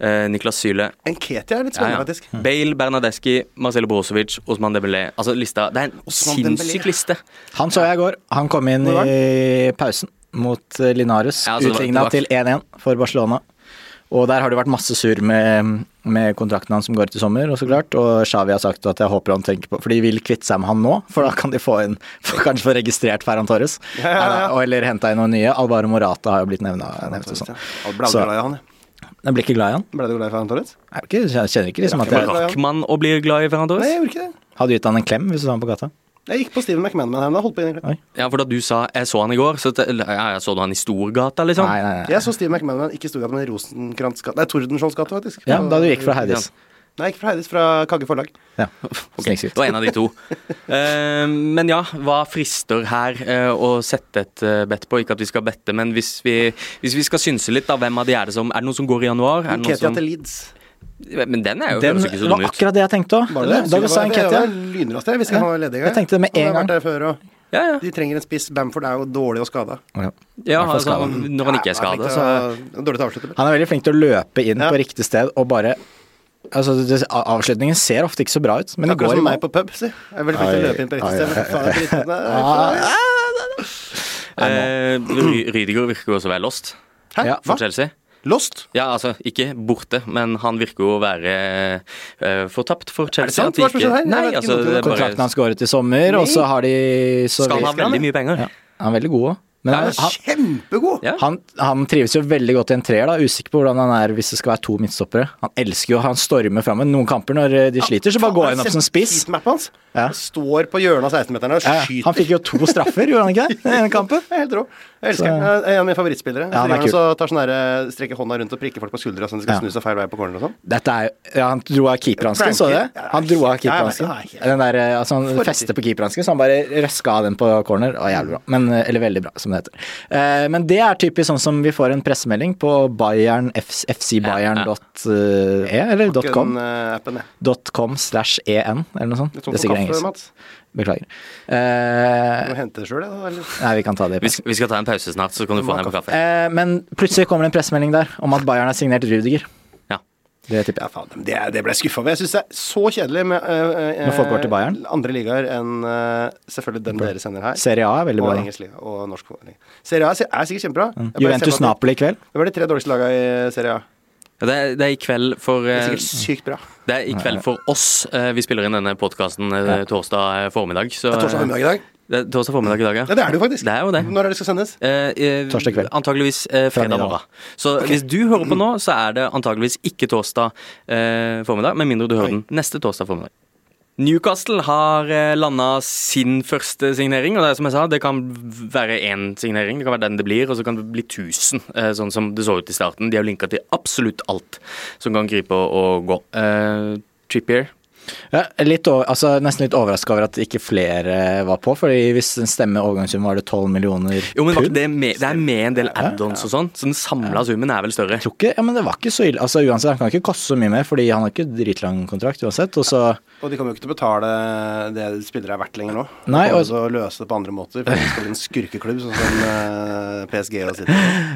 S1: eh, Niklas Syle
S3: Enketia er litt
S1: Ja,
S3: spennende,
S1: ja.
S3: faktisk.
S1: Bale, Bernadeschi, Marcelo Brozovic, Osman Dembélé. Altså, lista, det er en
S3: Osman
S1: sinnssyk
S3: Dembélé.
S1: liste.
S2: Han så jeg i går. Han kom inn
S3: Hvor var
S2: i pausen mot eh, Linares.
S1: Ja, altså, det var-
S2: Utligna
S1: det
S2: til 1-1 for Barcelona. Og der har det vært masse surr med, med kontrakten hans som går ut i sommer, og så klart. Og Xavi har sagt at jeg håper han tenker på For de vil kvitte seg med han nå, for da kan de få inn for, Kanskje få registrert Ferran Torres. Eller, eller henta inn noen nye. Alvaro Morata har jo blitt nevna. nevnt og sånn.
S3: Han Ble aldri
S2: Så-
S3: glad i han, jeg.
S2: Jeg blir ikke glad i han.
S3: Ble du glad i Ferran Torres?
S2: Jeg, er ikke, jeg kjenner ikke liksom at
S1: Men
S2: jeg
S1: Rakk man å bli glad i Ferran
S3: Nei,
S1: Torres?
S3: jeg gjorde ikke det.
S2: hadde gitt han en klem hvis du så han på gata.
S3: Jeg gikk på Steven McManaman her, men jeg holdt på inn i klem.
S1: Ja, for da du sa 'jeg så han i går', så te- ja, jeg så du han i Storgata, liksom?
S2: Nei, nei, nei.
S3: Jeg så Steven McManaman ikke i Storgata, men i Rosenkrantz gate. Nei, Tordenskiolds gate, faktisk.
S2: Ja, da du gikk fra Heidis.
S3: Nei, ikke fra Heidis, fra Kagge forlag.
S2: Ja.
S1: Det
S2: Snikskritt.
S1: var en av de
S2: [LAUGHS]
S1: to. Eh, men ja, hva frister her eh, å sette et eh, bett på? Ikke at vi skal bette, men hvis vi, hvis vi skal synse litt, da, hvem av de er det som Er det noen som går i januar? Er det noen
S3: Ketia
S1: som,
S3: til Leeds.
S1: men den er jo
S2: Den
S1: høres ikke så
S2: var
S1: dum ut.
S2: akkurat det jeg tenkte òg.
S3: Var det det?
S2: Da sa
S3: Det var- det
S2: Nketia.
S3: var Lynraskt, det. Vi skal
S2: Ja.
S3: ha ledige.
S2: Jeg tenkte det med
S3: Han har
S2: en gang.
S3: vært der før, og
S1: Ja, ja.
S3: De trenger en spiss. Bamford er jo dårlig og skada.
S1: ja
S2: Hvertfall
S1: altså,
S2: skadet.
S1: når han ikke er skada, så
S3: Dårlig til å avslutte med.
S2: Han er veldig flink til å løpe inn
S3: Ja.
S2: på riktig sted og bare Altså, det, a- avslutningen ser ofte ikke så bra ut, men det
S3: Akkurat
S2: går i
S3: som
S2: mål.
S3: meg på pub, si. Jeg er veldig flink til å
S2: Ai,
S3: løpe inn på riktig
S2: ai,
S3: sted. men faen, jeg er ikke riktig. Nei,
S2: Ah,
S1: eh, Ry- Rydiger virker jo også å være lost
S3: Hæ?
S2: Ja.
S1: for
S3: Hva?
S1: Chelsea.
S3: Lost?
S1: Ja, altså, ikke borte, men han virker jo å være eh, fortapt for Chelsea.
S3: sant?
S1: at de
S3: Hva er det som
S1: ikke-
S3: skjer her? Jeg
S1: Nei,
S3: vet ikke
S1: altså,
S3: noe om
S1: det er bare,
S2: kontrakten hans går ut i sommer, og så har de så
S1: skal han ha
S2: vidt-
S1: veldig mye penger?
S2: Ja, Han er veldig god òg. Men
S1: Ja,
S2: han,
S3: Han er kjempegod!
S1: Ja.
S2: han, han trives jo veldig godt i en treer, da. Usikker på hvordan han er hvis det skal være to midtstoppere. Han elsker jo, han stormer fram med noen kamper når eh, de sliter, så bare går han opp som spiss.
S3: Heatmappen hans.
S2: Ja.
S3: Står på hjørnet av 16-meterne og
S2: Ja, ja.
S3: skyter.
S2: han fikk jo to straffer, gjorde han
S1: [LAUGHS]
S2: ikke det? I den ene kampen.
S3: Jeg er helt rå. Jeg elsker
S2: Så-
S3: den. Jeg er En av mine favorittspillere.
S2: Ja, han er
S3: Driver han og så tar sånn der, strekker hånda rundt og prikker folk på skuldra så de skal
S2: Ja.
S3: snu seg feil vei på corner og sånn.
S2: Dette er jo ja, Han dro av keeperhansken,
S3: Frankie.
S2: så du det?
S3: Ja,
S2: Han dro av
S3: ja, ja,
S2: keeperhansken.
S3: ja, ja.
S2: Den der, eh, altså han
S3: For-
S2: fester på keeperhansken, så han bare røska av den på corner. Og jævlig bra. Men, eh, eller veldig bra, som det heter. Eh, men det er typisk sånn som vi får en pressemelding på Bayern, F- fcbayern.e, eller
S3: Ikke
S2: .com.
S3: den, eh, appen, jeg.
S2: .com slash en, eller noe sånt.
S3: Litt
S2: Det
S3: sånn
S2: er
S3: som
S2: sikkert
S3: kaffe,
S2: engelsk.
S3: Mats.
S2: Beklager.
S3: Du må
S2: Eh,
S3: hente det sjøl, jeg. da, eller?
S2: nei, vi kan ta det. i
S1: Vi skal, vi skal ta en pause snart, så kan du få en på kaffe.
S2: Eh, men plutselig kommer det en pressemelding der om at Bayern har signert Rudiger.
S1: Ja.
S2: Det tipper jeg.
S3: Ja, faen, men det, det ble jeg skuffa over. Jeg syns det er så kjedelig med eh, eh,
S2: Når folk går til Bayern?
S3: andre ligaer enn eh, selvfølgelig den dere sender her.
S2: Serie A er veldig
S3: og
S2: bra. Mm.
S3: engelsk liga og norsk liga. Serie A er si- er sikkert kjempebra. Jeg bare ser
S2: Juventus
S3: på at
S2: Napoli i kveld.
S3: Det det var de tre dårligste laga i Serie A.
S1: Det er, det er i kveld for
S3: Det
S1: eh,
S3: er sikkert sykt bra.
S1: Det er i kveld for oss. Eh, Vi spiller inn denne podkasten torsdag eh, formiddag. Så,
S3: Det er torsdag formiddag i dag.
S1: Det er torsdag formiddag i dag,
S3: Ja, det er det jo faktisk.
S1: Det er jo det.
S3: Når er det det skal sendes?
S1: Eh, eh,
S2: Torsdag kveld.
S1: Antakeligvis eh,
S2: Fra
S1: fredag
S2: middag.
S1: morgen. Så hvis du hører på nå, så er det antakeligvis ikke torsdag eh, formiddag, med mindre du hører den neste torsdag formiddag. Newcastle har landa sin første signering, og det er som jeg sa, det kan være én signering. Det kan være den det blir, og så kan det bli 1000, eh, sånn som det så ut i starten. De har linka til absolutt alt som kan gripe og, og gå. Eh, Trippier
S2: Ja, litt over, altså nesten litt overraska over at ikke flere var på, fordi hvis den stemmer overgangssum, var det 12 millioner
S1: Jo, men var ikke
S2: pund?
S1: det, med, det er med en del add-ons og sånn, så den samla summen er vel større.
S2: Jeg tror ikke, ja, men det var ikke så ille. Altså uansett, Han kan ikke koste så mye mer, fordi han har ikke dritlang kontrakt uansett. Og så
S3: Og de kommer jo ikke til å betale det spillere er verdt lenger nå. De
S2: Nei,
S3: kommer
S2: og-
S3: til å løse det på andre måter. For de skal bli en skurkeklubb, sånn som eh, PSG og sitt.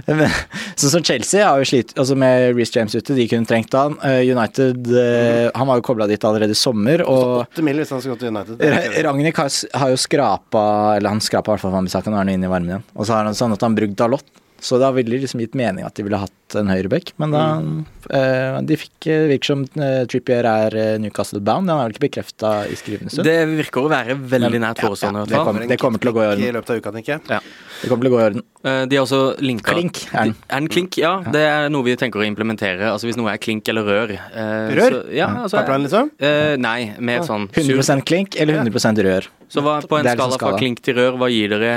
S2: Men, Sånn som Chelsea har jo slitt altså med Reece James ute, de kunne trengt han. Eh, United eh,
S1: Mm.
S2: Han var jo kobla dit allerede i sommer, og
S3: 8 mil hvis han skal gå til United. Det er
S2: Ra-
S3: ikke det.
S2: Ragnhild har, har jo skrapa Eller han skrapa i hvert fall Wambisakan og er nå inne i varmen igjen. Og så har han sånn at han brukt Dalot, så da ville det liksom gitt mening at de ville hatt hatt en høyreback, men da
S3: Mm.
S2: eh, De fikk eh, virker som eh, Trippier er eh, Newcastle bound. Han er vel ikke bekrefta i skrivende stund?
S1: Det virker å være veldig nært forestående. i
S2: det
S1: hvert fall.
S2: kommer, det kommer til å gå i
S3: I
S2: orden.
S3: løpet av uka, tenker jeg.
S2: Det kommer til å gå i orden.
S1: Eh, De har også linka
S2: Klink er den.
S1: Er den klink? Ja, det er noe vi tenker å implementere. Altså Hvis noe er klink eller rør. eh,
S3: Rør?
S1: Så, ja, altså,
S3: Pipeline, liksom.
S1: eh, nei, mer sånn sur.
S2: 100 klink eller 100 rør.
S1: Så hva, på en
S2: Det er liksom
S1: skala fra
S2: skala.
S1: klink til rør, hva gir dere?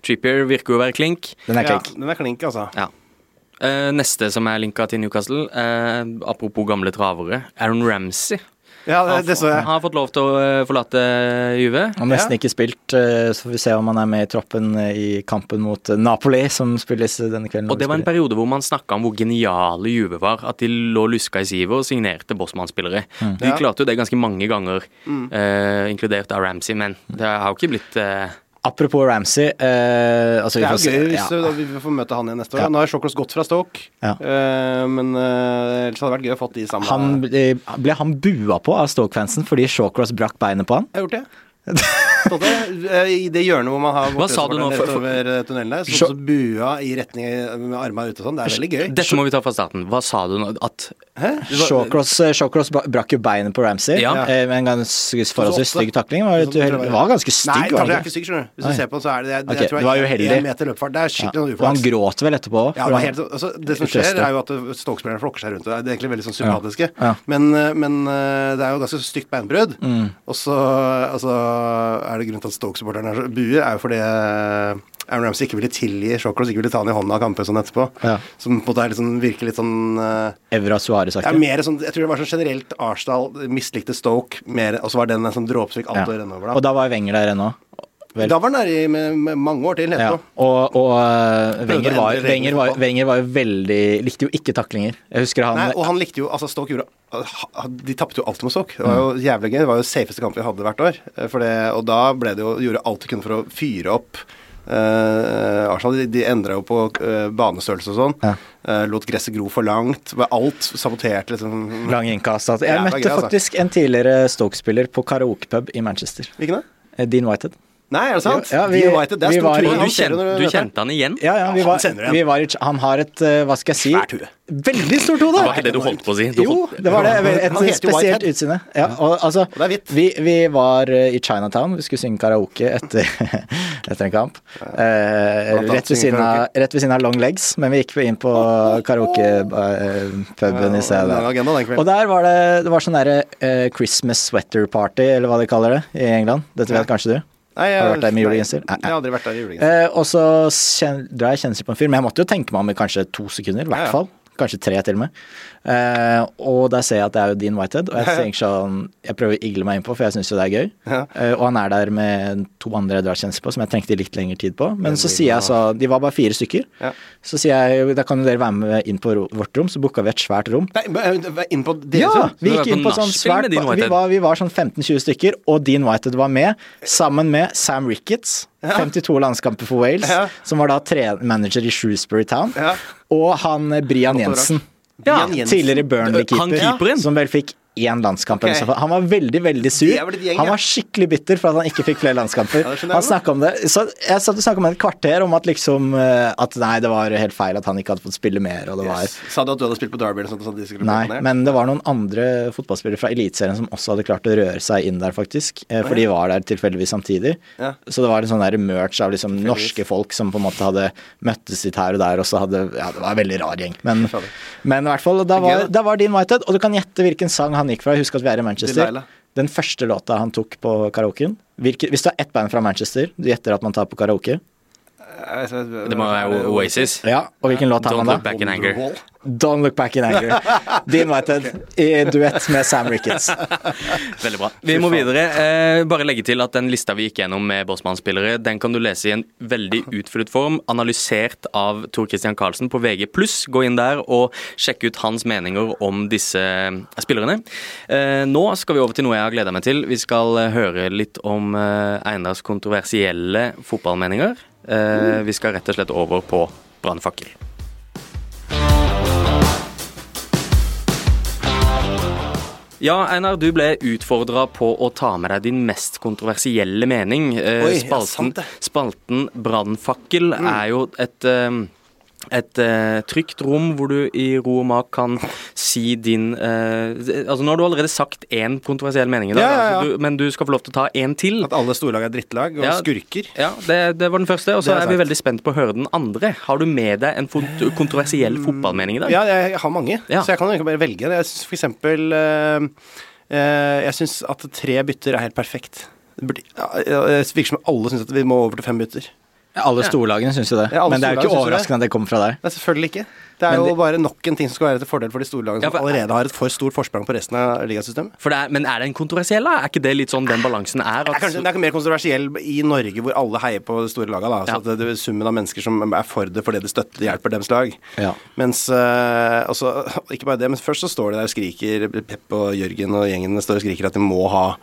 S1: Trippier virker jo å være klink.
S2: Den er
S3: Ja,
S2: klink.
S3: den er klink, altså.
S1: Eh, neste som er linka til Newcastle, eh, apropos gamle travere, Aaron Ramsey.
S3: Ja, det, det så
S1: Han
S3: jeg.
S1: har fått lov til å eh, forlate Juve.
S2: Han har nesten ikke spilt, eh, så får vi se om han er med i troppen eh, i kampen mot eh, Napoli, som spilles eh, denne kvelden.
S1: Og det var en periode hvor man snakka om hvor geniale Juve var. At de lå luska i sivet og signerte Bossmann-spillere. De
S3: Ja.
S1: klarte jo det ganske mange ganger, eh, inkludert av Ramsey, men det har jo ikke blitt eh,
S2: Apropos Ramsey eh, altså, vi
S3: Det er
S2: får se-
S3: jo gøy hvis
S2: ja.
S3: da vi får møte han igjen neste år.
S2: Ja.
S3: Nå har Shockers gått fra Stoke,
S2: Ja.
S3: eh, men eh, ellers hadde det vært gøy å fått de sammen.
S2: han ble, ble han bua på av Stoke-fansen fordi Shawcross brakk beinet på han?
S3: Jeg har gjort det. Stod det eh, I det hjørnet hvor man har
S1: Hva sa du nå? For-
S3: bortesupporteren rett
S1: for-
S3: over eh, tunnelen der,
S2: Sjå-
S3: så, så bua i retning eh, med armene ute og sånn. Det er veldig gøy.
S1: Dette må vi ta fra starten. Hva sa du nå? At
S3: Hæ?
S2: Shawcross, eh, Shawcross bra- brakk jo beinet på Ramsey
S1: Ja.
S2: eh, med en ganske forholdsvis
S3: Så åtte.
S2: altså stygg takling. Var,
S3: Så-
S2: litt uheldig. det var ganske
S3: Nei,
S2: stygg, var
S3: takler
S2: det
S3: er ikke
S2: ikke?
S3: stygg, skjønner du. Hvis
S2: Nei.
S3: du ser på, så er det, det,
S2: Ok,
S3: tror jeg
S2: det var
S3: en-
S2: uheldig.
S3: en meter løpefart. Det er skikkelig noe
S2: Og han
S3: uflaks.
S2: gråt vel etterpå
S3: Ja, det, var helt,
S2: òg.
S3: altså, det som
S2: Utrøste.
S3: skjer, er jo at Stoke-spillerne flokker seg rundt. og Det er egentlig veldig sånn sympatiske.
S2: Ja. Mm.
S3: Men, eh, men eh, det er jo ganske stygt beinbrudd. Og så altså, er det grunnen til at Stoke-supporterne er så buer, er jo fordi eh, Aaron Ramsey ikke ville tilgi Shockross, ikke ville ta han i hånda av kampen sånn etterpå.
S2: Ja.
S3: Som på en måte er litt sånn, virker litt sånn eh,
S2: Evra
S3: det er
S2: Suárez-aktig.
S3: mer sånn, Jeg tror det var sånn generelt Arsenal mislikte Stoke mer, og så var den en sånn dråpe som fikk alt
S2: Ja.
S3: til å renne over.
S2: Og da var Wenger der ennå. Vel.
S3: Da var den der i med, med mange år til
S2: Ja,
S3: etterpå.
S2: og, og eh,
S3: Prøvde
S2: Wenger,
S3: å
S2: var,
S3: endre reglene
S2: Wenger, var,
S3: på-
S2: Wenger var jo veldig Likte jo ikke taklinger. Jeg husker han eh,
S3: Nei, og han likte jo Altså, Stoke gjorde ha- De tapte jo alt mot Stoke. Det var
S2: Mm.
S3: jo jævlig gøy. Det var jo safeste kamp vi hadde hvert år. Eh, For det, og da ble det jo Gjorde alt de kunne for å fyre opp eh, Arsenal. De, de endra jo på eh, banestørrelse og sånn.
S2: Ja.
S3: Eh, lot gresset gro for langt. Var alt sabotert, liksom.
S2: Lang innkast. altså. Jeg
S3: Ja, det var
S2: møtte
S3: gøy, altså.
S2: faktisk en tidligere Stoke-spiller på karaokepub i Manchester.
S3: Hvilken da?
S2: Eh, Dean Whitehead.
S3: Nei, er det sant?
S2: Jo, ja, vi-
S3: Dean United, det
S2: vi
S3: er
S2: var-
S3: stor tur.
S1: Og
S2: han
S1: du,
S3: ser
S1: kjen,
S3: du når
S1: du
S3: møter han.
S1: kjenner han igjen?
S2: Ja, ja, vi
S3: Ja,
S2: var,
S3: han sender en.
S2: vi var i, han har et eh, Hva skal jeg si?
S3: Svært hue.
S2: Veldig stort hode!
S1: Det var ikke det du holdt på å si. Du
S2: Jo,
S1: holdt,
S2: det var det. Et
S3: Han heter jo
S2: spesielt
S3: Whitehead.
S2: utseende. Ja, og, altså,
S3: Og det er hvitt.
S2: Vi, vi var eh, i Chinatown, vi skulle synge karaoke etter, [LAUGHS] etter en kamp. Eh, rett,
S3: annet
S2: ved
S3: synge
S2: siden av, rett ved siden av Long Legs, men vi gikk inn på karaokepuben i
S3: Ja, det
S2: stedet.
S3: var agendaen den kvelden.
S2: Og der var det, det var sånn derre eh, Christmas sweater party, eller hva de kaller det, i England. Dette vet kanskje du?
S3: Nei, jeg,
S2: Har du vært der med julegenser? Nei,
S3: Nei,
S2: nei.
S3: jeg har aldri vært der i julegenser.
S2: Eh, og så kjen- drar jeg kjensel på en fyr, men jeg måtte jo tenke meg om i kanskje to sekunder, i
S3: Ja,
S2: hvert
S3: ja.
S2: fall. Kanskje tre, til og med. Eh, og der ser jeg at det er jo Dean Whitehead, og jeg tenker sånn Jeg prøver å igle meg innpå, for jeg syns jo det er gøy.
S3: Ja.
S2: Eh, og han er der med to andre jeg drar kjensel på, som jeg trengte litt lengre tid på. Men så sier jeg så De var bare fire stykker.
S3: Ja.
S2: Så sier jeg da kan jo dere være med inn på ro- vårt rom, så booka vi et svært rom.
S3: Nei, men, eh, inn på deres
S2: Ja,
S3: rom?
S1: Så
S2: vi
S1: du
S2: gikk
S1: var
S2: inn
S1: på
S2: på sånn
S1: nachspiel
S2: svært
S1: med Dean
S2: vi
S1: Whitehead?
S2: var, vi var sånn 15-20 stykker, og Dean Whitehead var med, sammen med Sam Ricketts, 52 landskamper for Wales,
S3: Ja.
S2: som var da tre- manager i Shrewsbury Town,
S3: Ja.
S2: og han eh, Brian Jensen,
S3: Brian
S1: Ja,
S3: Jensen.
S2: tidligere
S1: Han
S2: Burnley-keeper,
S1: keeperen?
S2: som vel fikk én landskamp. eller
S3: Ok.
S2: så fall. Han var veldig veldig sur.
S3: De er vel et gjeng,
S2: han
S3: ja.
S2: var skikkelig bitter for at han ikke fikk flere landskamper.
S3: Ja, det skjønner jeg
S2: han
S3: godt.
S2: snakket om det. Så jeg satt og snakka med et kvarter om at liksom eh, At nei, det var helt feil at han ikke hadde fått spille mer, og det var
S3: Yes. Sa du at du hadde spilt på Derby eller sånt? sånn at de skulle bli
S2: Nei,
S3: imponert?
S2: men det var noen andre fotballspillere fra Eliteserien som også hadde klart å røre seg inn der, faktisk. eh, For de var der tilfeldigvis samtidig.
S3: Ja.
S2: Så det var en sånn der merch av liksom norske folk som på en måte hadde møttes litt her og der, og så hadde Ja, det var en veldig rar gjeng, men,
S3: Fader.
S2: men i hvert fall. Da
S3: Det er gøy,
S2: var, da var Dean Whitehead, og du kan gjette hvilken sang han gikk fra. Husk at vi er i Manchester.
S3: Delilah.
S2: Den første låta han tok på karaoken. Hvilke, hvis du har ett band fra Manchester, du gjetter at man tar på karaoke.
S3: Jeg vet ikke,
S1: Det må være Oasis.
S2: Ja, og hvilken låt tar
S1: Don't
S2: man da?
S1: look back in anger.
S3: Wonderwall.
S2: Don't Look Back in Anger. [LAUGHS] Dean Whitehead i duett med Sam Ricketts.
S1: Veldig bra. Vi må videre. Eh, bare legge til at den lista vi gikk gjennom med Bossmann-spillere, den kan du lese i en veldig utfyllet form, analysert av Tor Christian Karlsen på VG+. Gå inn der og sjekk ut hans meninger om disse spillerne. Eh, nå skal vi over til noe jeg har gleda meg til. Vi skal eh, høre litt om eh, Einars kontroversielle fotballmeninger. Eh, vi skal rett og slett over på brannfakkel. Ja, Einar, du ble utfordra på å ta med deg din mest kontroversielle mening. Eh,
S3: Oi, ja, Mm.
S1: spalten
S3: sant det.
S1: spalten Brannfakkel er jo et eh, et eh, trygt rom hvor du i ro og mak kan si din eh, Altså, nå har du allerede sagt én kontroversiell mening i dag,
S3: Ja, ja, ja.
S1: Altså, du, men du skal få lov til å ta én til.
S3: At alle storlag er drittlag og
S1: Ja.
S3: skurker.
S1: Ja, det, det var den første, og så
S3: Det er
S1: er, vi
S3: sant.
S1: veldig spent på å høre den andre. Har du med deg en fot kontroversiell fotballmening i dag?
S3: Mm. Ja, jeg har mange,
S1: Ja.
S3: så jeg kan jo egentlig bare velge. Jeg synes for eksempel eh, eh, Jeg syns at tre bytter er helt perfekt. Det burde- ja, Det virker som alle syns at vi må over til fem bytter.
S2: Alle storlagene syns jo det.
S3: Ja, alle
S2: men det er jo ikke
S3: storlagene syns jo det.
S2: overraskende at det kommer fra deg.
S3: Nei, selvfølgelig ikke. Det er
S2: Men
S3: jo
S2: det-
S3: bare nok en ting som skal være til fordel for de storlagene
S1: Ja,
S3: som
S1: for-
S3: allerede har et for stort forsprang på resten av ligasystemet.
S1: For det er, men er den kontroversiell, da? Er ikke det litt sånn den balansen er?
S3: Det er kanskje det er mer konserversiell i Norge, hvor alle heier på de store lagene. Da. Så
S1: Ja.
S3: at det, det, er summen av mennesker som er for det fordi det støtter, hjelper deres lag.
S2: Ja.
S3: Mens eh, også, [LAUGHS] Ikke bare det, men først så står de der og skriker Pep og Jørgen og gjengen står og skriker at de må ha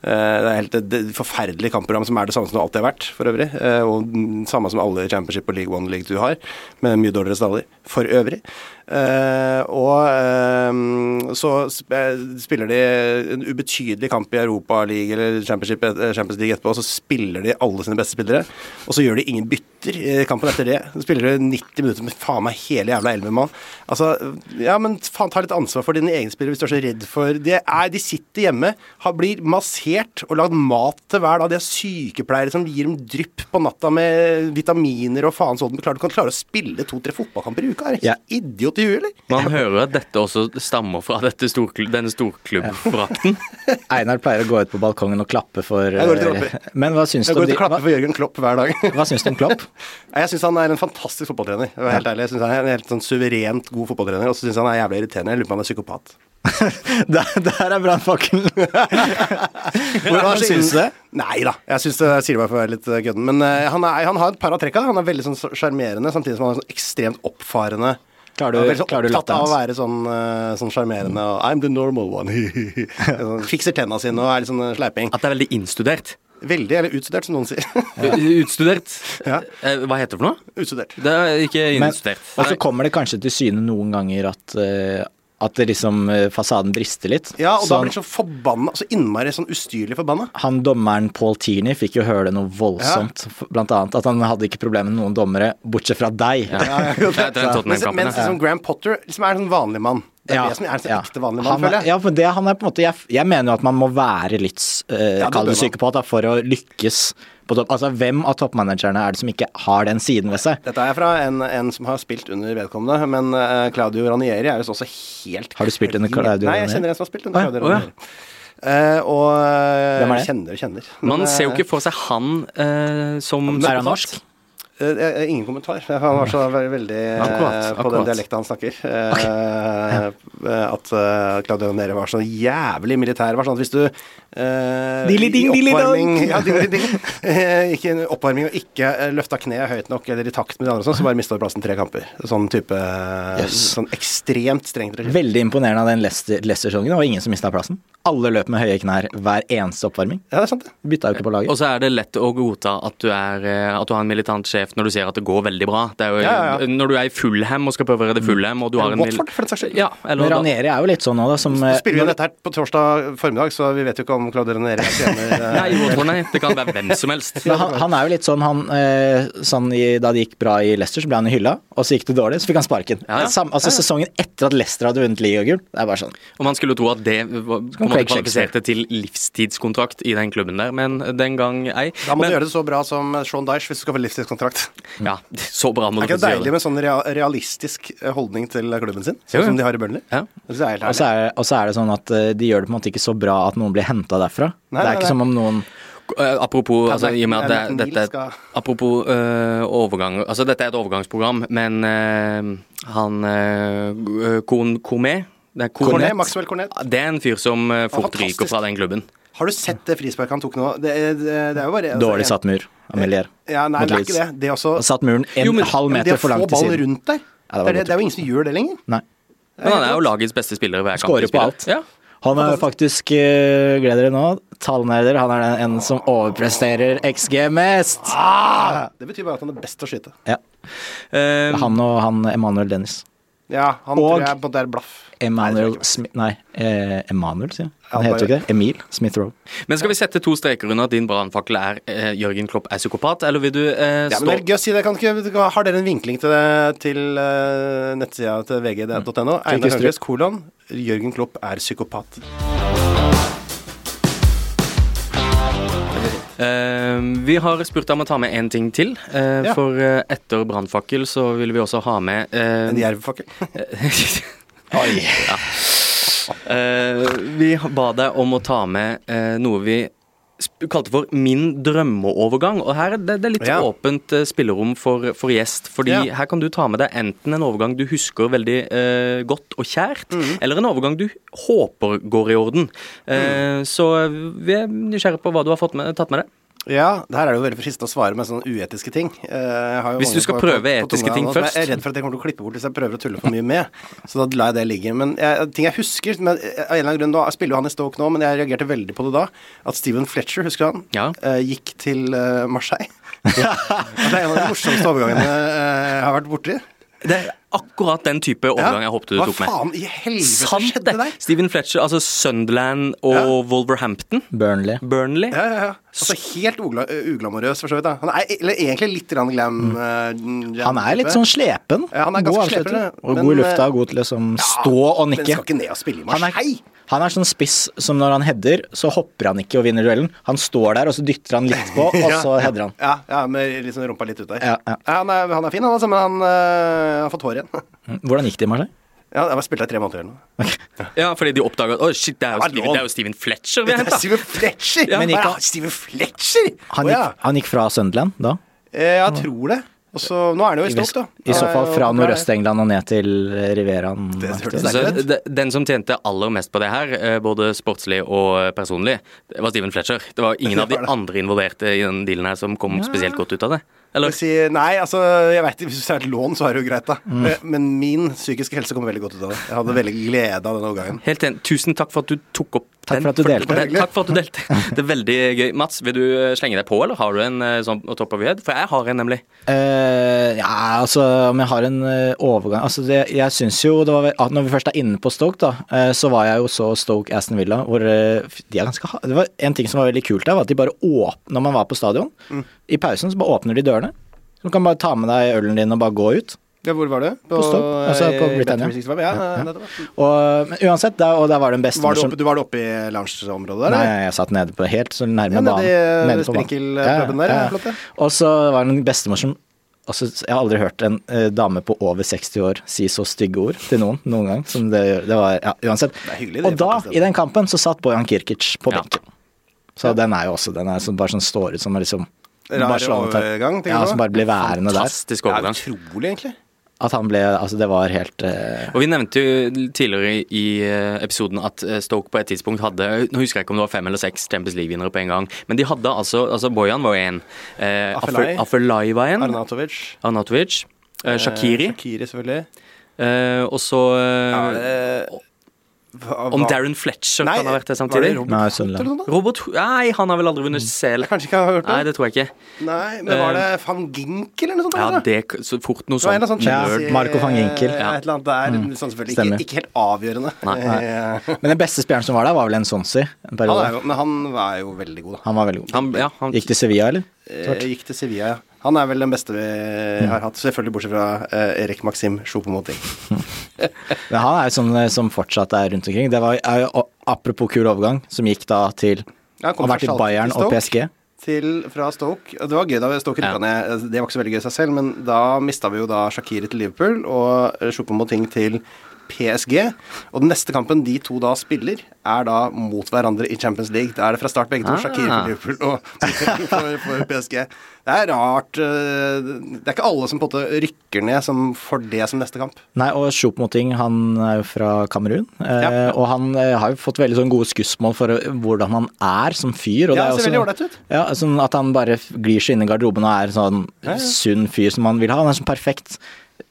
S3: eh, det er helt det, det forferdelige kampprogram som er det samme som det alltid har vært, for øvrig. eh, og den samme som alle Championship og League One og League Two har, med mye dårligere staller, for øvrig. Eh, og eh, så sp eh, spiller de en ubetydelig kamp i Europa League eller Championship, eh, Champions League etterpå, og så spiller de alle sine beste spillere, og så gjør de ingen bytter i kampen etter det. Så spiller de 90 minutter med faen meg hele jævla elvemann. Altså, ja, men faen, ta litt ansvar for dine egne spillere hvis du er så redd for De, er, de sitter hjemme, har, blir massert og lagd mat til hver dag. De har sykepleiere som gir dem drypp på natta med vitaminer og faen sånn. Men Klart du kan klare å spille to-tre fotballkamper i uka? Er du
S2: Ja.
S3: helt idiot i huet, eller?
S1: Man hører at dette også stammer fra dette storkl denne storklubbforakten.
S2: [LAUGHS] Einar pleier å gå ut på balkongen og klappe for
S3: Jeg går ut og
S2: eh,
S3: klapper.
S2: [LAUGHS] Men hva syns
S3: Jeg
S2: du
S3: går
S2: om
S3: ut
S2: de
S3: og klapper
S2: hva,
S3: for Jørgen Klopp hver dag. [LAUGHS]
S2: hva syns du om Klopp?
S3: Nei, Jeg syns han er en fantastisk fotballtrener. Jeg, helt ærlig. jeg synes han er en helt sånn suverent god fotballtrener, og så syns han er jævlig irriterende. Jeg lurer på om han er psykopat.
S2: der, der er
S3: [LAUGHS]
S2: brannfakkelen.
S3: Hvordan
S2: synes du det?
S3: Nei da, jeg syns det jeg sier det bare for å være litt eh, gødden. Men eh, han, er, han har et par av trekka. da. Han er veldig sånn sjarmerende, samtidig som han er sånn ekstremt oppfarende.
S2: Klarer du-
S3: Han er veldig
S2: klarer du
S3: opptatt av å
S2: latteren
S3: være sånn eh, sånn sjarmerende og I'm the normal one. [LAUGHS] Sånn, Fikser tenna sine og er litt sånn eh, sleiping.
S1: At det er veldig innstudert.
S3: Veldig, eller utstudert, som noen sier. [LAUGHS]
S1: Utstudert?
S3: Ja.
S1: Eh, Hva heter det for noe?
S3: utstudert.
S1: Det er ikke
S2: Men-
S1: innstudert. Altså,
S2: Og så kommer det kanskje til syne noen ganger at, eh, at det liksom eh, fasaden brister litt.
S3: Ja, og da
S2: Sånn-
S3: blir han så forbanna, så innmari sånn
S2: [LAUGHS]
S3: ustyrlig forbanna.
S2: han dommeren Paul Tierney fikk jo høre det noe voldsomt, blant annet. At han hadde ikke problemer med noen dommere, bortsett fra deg.
S1: [LAUGHS] Ja. Det er den
S3: Mens,
S1: Tottenham-kampen,
S3: mens
S1: ja.
S3: liksom Graham Potter liksom er en sånn vanlig mann. Det er
S2: Ja,
S3: det som er en sånn
S2: ja.
S3: ekte vanlig mann,
S2: Han er,
S3: føler jeg.
S2: ja, for det, han er på en måte, jeg, jeg mener jo at man må være litt uh,
S3: Ja, det
S2: Kall det
S3: bør man.
S2: psykopat da, for å lykkes på topp. Altså, hvem av toppmanagerne er det som ikke har den siden ved seg?
S3: Dette er fra en, en som har spilt under vedkommende, men eh, Claudio Ranieri er jo også helt
S2: Har du spilt under
S3: klin-
S2: Claudio
S3: Nei, jeg
S2: Ranieri?
S3: kjenner en som har spilt
S2: Å
S3: under
S2: ja,
S1: å
S3: Claudio
S1: ja.
S3: Ranieri. Eh, og eh,
S2: Hvem er det?
S3: Kjenner og kjenner.
S1: Man
S3: Men,
S1: ser jo
S3: eh,
S1: ikke for seg han eh, som
S2: Er han
S1: psykopat.
S2: norsk?
S3: eh, eh, ingen kommentar. Han var så ve- veldig eh,
S1: Akkurat,
S3: på den
S1: akkurat.
S3: dialekta han
S1: [LAUGHS]
S3: snakker. Eh, eh, At eh, Claudio Ranieri var så jævlig militær. Var sånn at hvis du eh,
S2: Dilly ding,
S3: i
S2: dilly dong.
S3: oppvarming-
S1: [LAUGHS]
S3: Ja, dilly ding. Eh, Gikk i en oppvarming og ikke eh, løfta kneet høyt nok eller i takt med de andre, og sånn, så bare mista du plassen tre kamper. Sånn type
S2: Yes.
S3: Sånn ekstremt strengt regime.
S2: Veldig imponerende av den Leicester- Leicester-sesongen. Det var ingen som mista plassen. Alle løp med høye knær hver eneste oppvarming.
S1: Mm.
S3: Ja, det er sant, det.
S2: Bytta jo ikke på
S1: Og
S2: laget.
S1: så er det lett å godta at du, er, eh, at du har en militant sjef når du ser at det går veldig bra. Det er jo,
S3: Ja, ja, ja.
S1: Når du er i Fulham og skal prøve å redde Fulham, og du har en mil-
S3: Watford, for den saks skyld.
S1: Ja, eller
S2: Men
S1: da,
S2: Ranieri er jo litt sånn nå, da, som
S3: Så
S2: eh,
S3: spiller vi jo dette her på torsdag formiddag, så vi vet jo ikke om Claude René tjener
S1: [LAUGHS]
S3: eh,
S1: Nei, Watford, nei. Det kan være hvem som helst.
S2: Men han, han er jo litt sånn, han, eh, sånn i, Da det gikk bra i Leicester, så ble han i hylla. Og så gikk det dårlig, så fikk han sparken.
S1: Ja, ja.
S2: Sam, altså Sesongen etter at Leicester hadde vunnet ligagull. Det er bare sånn.
S1: Og man skulle jo tro at det var, på en måte
S2: Craig Shakespeare.
S1: kvalifiserte til livstidskontrakt i den klubben der, men den gang ei.
S3: Da må
S1: men,
S3: du gjøre det så bra som Sean Dyche hvis du skal få livstidskontrakt.
S1: Ja, så bra må du
S3: Er
S1: faktisk
S3: ikke det
S1: gjøre
S3: deilig
S1: det.
S3: med sånn rea- realistisk eh, holdning til klubben sin?
S1: Jo, jo.
S3: Sånn som de har i Burnley?
S1: Ja.
S3: Jeg synes Det er helt
S2: Og så
S3: herlig.
S2: er, og så er det sånn at eh, de gjør det på en måte ikke så bra at noen blir henta derfra.
S3: Nei,
S2: det
S3: nei,
S2: er
S3: nei.
S2: ikke som om noen
S1: Eh, Apropos, altså, i og med at det,
S3: Henrik Niel
S1: dette
S3: skal-
S1: Apropos eh, overgang Altså, dette er et overgangsprogram, men eh, han uh, Cornet Det er
S3: Cornet,
S1: Cornet.
S3: Maxwell Cornet.
S1: Det er en fyr som eh, fort
S3: fantastisk.
S1: ryker fra den klubben.
S3: Har du sett det frisparket han tok nå? Det, er- det, det er jo bare altså,
S2: dårlig
S3: en-
S2: satt mur av Melier.
S3: Ja, nei,
S2: mot
S3: det er
S2: Leeds.
S3: ikke det. Det er også
S2: Og satt muren en
S1: Jo, men-
S2: halv
S3: Men det
S2: meter
S3: å
S2: for
S3: få
S2: langt til
S3: ballen
S2: siden.
S3: rundt der,
S2: Ja, det var
S3: det, er,
S2: godt
S3: det, det er jo ingen som gjør det lenger.
S2: Nei.
S1: Men han er jo lagets beste spiller. hver kamp de
S2: Skårer på
S1: spiller.
S2: alt.
S1: Ja.
S2: Han er faktisk, eh, gled dere nå, tallnerder. Han er den en som overpresterer XG mest.
S3: Ah! Det betyr bare at han er best til å skyte.
S2: Ja,
S1: Eh,
S2: han og han Emanuel Dennis.
S3: Ja, han
S2: Og-
S3: tror jeg på det er blaff.
S2: Emanuel Smith Nei, eh, Emanuel, sier jeg. Han
S3: Ja,
S2: heter jo ikke
S3: bare-
S2: det. Emil Smith-Roe.
S1: Men skal vi sette to streker under at din brannfakkel er eh, Jørgen Klopp er psykopat, eller vil du eh,
S3: Ja, men
S1: stå
S3: det er gøy å si det. Kan ikke, har dere en vinkling til, det, til eh, nettsida til
S2: Mm.
S3: vg.no? Einar
S2: Kristrup.
S3: Høgres kolon Jørgen Klopp er psykopat.
S1: Eh, vi har spurt deg om å ta med én ting til. eh,
S3: Ja.
S1: For eh, etter brannfakkel så vil vi også ha med eh, [LAUGHS]
S3: En jervfakkel.
S2: Oi.
S1: Eh, Vi ba deg om å ta med eh, noe vi sp- kalte for 'min drømmeovergang'. Og her er det, det er litt
S3: Ja.
S1: åpent eh, spillerom for, for gjest, fordi
S3: Ja.
S1: her kan du ta med deg enten en overgang du husker veldig eh, godt og kjært,
S3: Mm.
S1: eller en overgang du håper går i orden.
S3: Mm.
S1: Eh, Så vi er nysgjerrige på hva du har fått med, tatt med deg.
S3: Ja, det her er det jo veldig fristende å svare med sånne uetiske ting. Eh, jeg har jo
S1: Hvis du
S3: mange
S1: skal
S3: på-
S1: prøve
S3: på- på
S1: etiske
S3: tunga
S1: ting
S3: nå, som
S1: først.
S3: Jeg er redd for at jeg kommer til å klippe bort hvis jeg prøver å tulle for mye med. Så da lar jeg det ligge. Men jeg, ting jeg husker men, eh, Av en eller annen grunn nå, jeg spiller jo han i Stoke nå, men jeg reagerte veldig på det da. At Steven Fletcher, husker du han,
S1: Ja.
S3: eh, gikk til eh, Marseille. [LAUGHS] At det er en av de morsomste overgangene eh, jeg har vært borti.
S1: Det er akkurat den type overgang jeg håpte du
S3: Hva
S1: tok med.
S3: faen i helvete
S1: Sant
S3: skjedde
S1: det!
S3: der?
S1: Steven Fletcher, altså Sunderland og
S3: Ja.
S1: Wolverhampton.
S2: Burnley.
S1: Burnley.
S3: Ja, ja, ja. Altså helt ugla uglamorøs, for så vidt. da. Han er eller, egentlig litt grann glam. eh,
S2: Han er litt
S3: type.
S2: sånn slepen.
S3: Ja, han er
S2: god
S3: ganske
S2: avslutter.
S3: slepen,
S2: Og
S3: men-
S2: god i lufta, og god til å liksom stå og
S3: Men
S2: nikke.
S3: skal ikke ned og spille i
S2: Han
S3: Marseille!
S2: er, han er sånn spiss som når han header, så hopper han ikke og vinner duellen. Han står der, og så dytter han litt
S3: [LAUGHS]
S2: på, og
S3: Ja.
S2: så header han.
S3: Ja, ja, med liksom rumpa litt ut der.
S2: Ja, ja.
S3: han, er, han er fin, han altså, men han øh, har fått hår igjen. [LAUGHS]
S2: Mm. Hvordan gikk det i Marseille?
S3: Ja, jeg har spilt der i tre måneder eller noe.
S1: Ja, fordi de oppdaga at Å, shit, det er jo
S3: Hva er
S1: Steven,
S3: lov?
S1: det er jo Steven Fletcher vi
S3: Det
S1: har
S3: er
S1: henta.
S3: Steven Fletcher!
S2: Men
S3: Hva er
S2: gikk han-
S3: det? Steven Fletcher! Å
S2: Han
S3: ja.
S2: gikk, han gikk fra Sunderland da?
S3: Eh, jeg tror det. Og så, nå er han jo i
S2: I, vest,
S3: Stoke, da. Eh,
S2: I så
S3: Ja,
S2: fall
S3: ja,
S2: fra
S3: ja.
S2: Nordøst-England og ned til Riveraen.
S3: Det
S2: aktig.
S3: hørtes sterkt
S1: Så
S3: Steven Fletcher.
S1: de- den som tjente aller mest på det her, eh, både sportslig og eh, personlig, det var Steven Fletcher. Det var
S3: [LAUGHS]
S1: ingen av de
S3: Det var det.
S1: andre involverte i den dealen her som kom spesielt godt ut av det. Eller?
S3: Jeg sier, nei, altså, jeg vet, ikke, hvis det er et lån, så er det jo greit, da.
S2: Mm.
S3: Eh, Men min psykiske helse kom veldig godt ut av det. Jeg hadde veldig glede av den overgangen.
S1: Helt enig. Tusen takk for at du tok opp
S2: Takk for at du delte.
S1: det- Takk for at du delte. Det er veldig gøy. Mats, vil du eh, slenge deg på, eller har du en eh, sånn å top of your head? For jeg har en, nemlig.
S2: Eh, ja, altså om jeg har en eh, overgang Altså det, jeg syns jo det var ve- at Når vi først er inne på Stoke, da, eh, så var jeg jo så Stoke Aston Villa, hvor eh, f- de er ganske ha- Det var en ting som var veldig kult der, var at de bare åpner Når man var på stadion,
S3: Mm.
S2: i pausen, så bare åpner de dørene. Så du kan bare ta med deg ølen din og bare gå ut.
S3: Ja, hvor var du? eh,
S2: På Stoke, altså, på
S3: i- i
S2: Britannia.
S3: Bet365? Ja, ja, nettopp, ja.
S2: Og, men uansett, der, og der var det en
S3: Var
S2: bestemor
S3: du
S2: som
S3: oppe, du var du oppe i loungeområdet der?
S2: Nei,
S3: eller?
S2: jeg satt nede på helt så nærme
S3: Ja, nede
S2: banen.
S3: i,
S2: Nede på banen.
S3: sprinkelpuben der, ja, flott, ja.
S2: Og så var det en bestemor som altså, Jeg har aldri hørt en eh, dame på over 60 år si så stygge ord til noen noen gang. Som det, gjør. det var, ja, uansett.
S3: Det er hyggelig, det,
S2: og da,
S3: faktisk, altså. det.
S2: i den kampen, så satt Bojan Kirkic på
S1: Ja.
S2: benken. Så den er jo også Den er som bare sånn står ut som en liksom
S3: Rar
S2: Barcelona tar-
S3: overgang, tenker
S2: Ja,
S3: du?
S2: som bare blir værende der.
S1: Fantastisk
S3: Det er
S1: overgang.
S3: utrolig, egentlig.
S2: At han ble Altså, det var helt eh,
S1: Og Vi nevnte jo tidligere i- i eh, episoden at eh, Stoke på et tidspunkt hadde Nå husker jeg ikke om det var fem eller seks Champions League-vinnere på en gang, men de hadde altså, altså Bojan var én, eh,
S3: Afelai.
S1: Afe- Afelai var én,
S3: Arnatovic.
S1: Arnatovic, eh, Shakiri,
S3: Eh, Shakiri, selvfølgelig.
S1: eh, og så eh, Om Darren Fletcher
S3: Nei,
S1: kan ha vært det
S3: var
S1: samtidig.
S3: det Robert
S2: Nei,
S3: Holt
S2: Sunderland.
S3: eller noe da?
S1: Robert Nei, han har vel aldri vunnet selv.
S3: Kanskje ikke har hørt
S1: Nei,
S3: det?
S1: det tror jeg ikke.
S3: Nei, men var det van Gink eller noe sånt?
S1: Ja,
S3: da?
S1: det k- så fort noe
S3: Det var
S1: sånt.
S3: en eller annen sånn
S2: Ja,
S3: Chelsea,
S2: Marco van Ginkel. Mm.
S3: eh, Et eller annet der. Sånn selvfølgelig
S2: Stemmer.
S3: ikke, ikke helt avgjørende. Eh,
S2: Men den beste spilleren som var der, var vel en Sonsi. En
S3: Han
S2: periode.
S3: er jo, men han var jo veldig god, da.
S2: Han var veldig god.
S1: Han, ja, han,
S2: Gikk til Sevilla, eller?
S3: Eh, Gikk til Sevilla, ja. Han er vel den beste vi
S2: Mm.
S3: har hatt. Selvfølgelig bortsett fra eh, Erik Maxim Sjopomoting.
S2: Men han er jo sånn eh, som fortsatt er rundt omkring. Det var er jo, og Apropos kul overgang, som gikk da til
S3: Ja, han kom
S2: Har vært i
S3: fra Schalke
S2: Bayern og
S3: til Stoke.
S2: PSG.
S3: til fra Stoke. Og Det var gøy da Stoke rykka
S1: Ja.
S3: ned. Det var ikke så veldig gøy i seg selv, men da mista vi jo da Shakiri til Liverpool og eh, Choupo-Moting til PSG. Og den neste kampen de to da spiller, er da mot hverandre i Champions League. Da er det fra start begge to.
S1: Ah.
S3: Shakiri for Liverpool og [LAUGHS] Moting for, for PSG. Det er rart. eh, Det er ikke alle som på en måte rykker ned som får det som neste kamp.
S2: Nei, og Choupo-Moting, han er jo fra Kamerun. Eh,
S3: Ja.
S2: Og han eh, har jo fått veldig sånn gode skussmål for eh, hvordan han er som fyr. Og
S3: Ja,
S2: det
S3: ser
S2: er
S3: veldig ålreit ut.
S2: Ja, sånn at han bare f- glir seg inn i garderoben og er en sånn sunn fyr som man vil ha. Han er sånn perfekt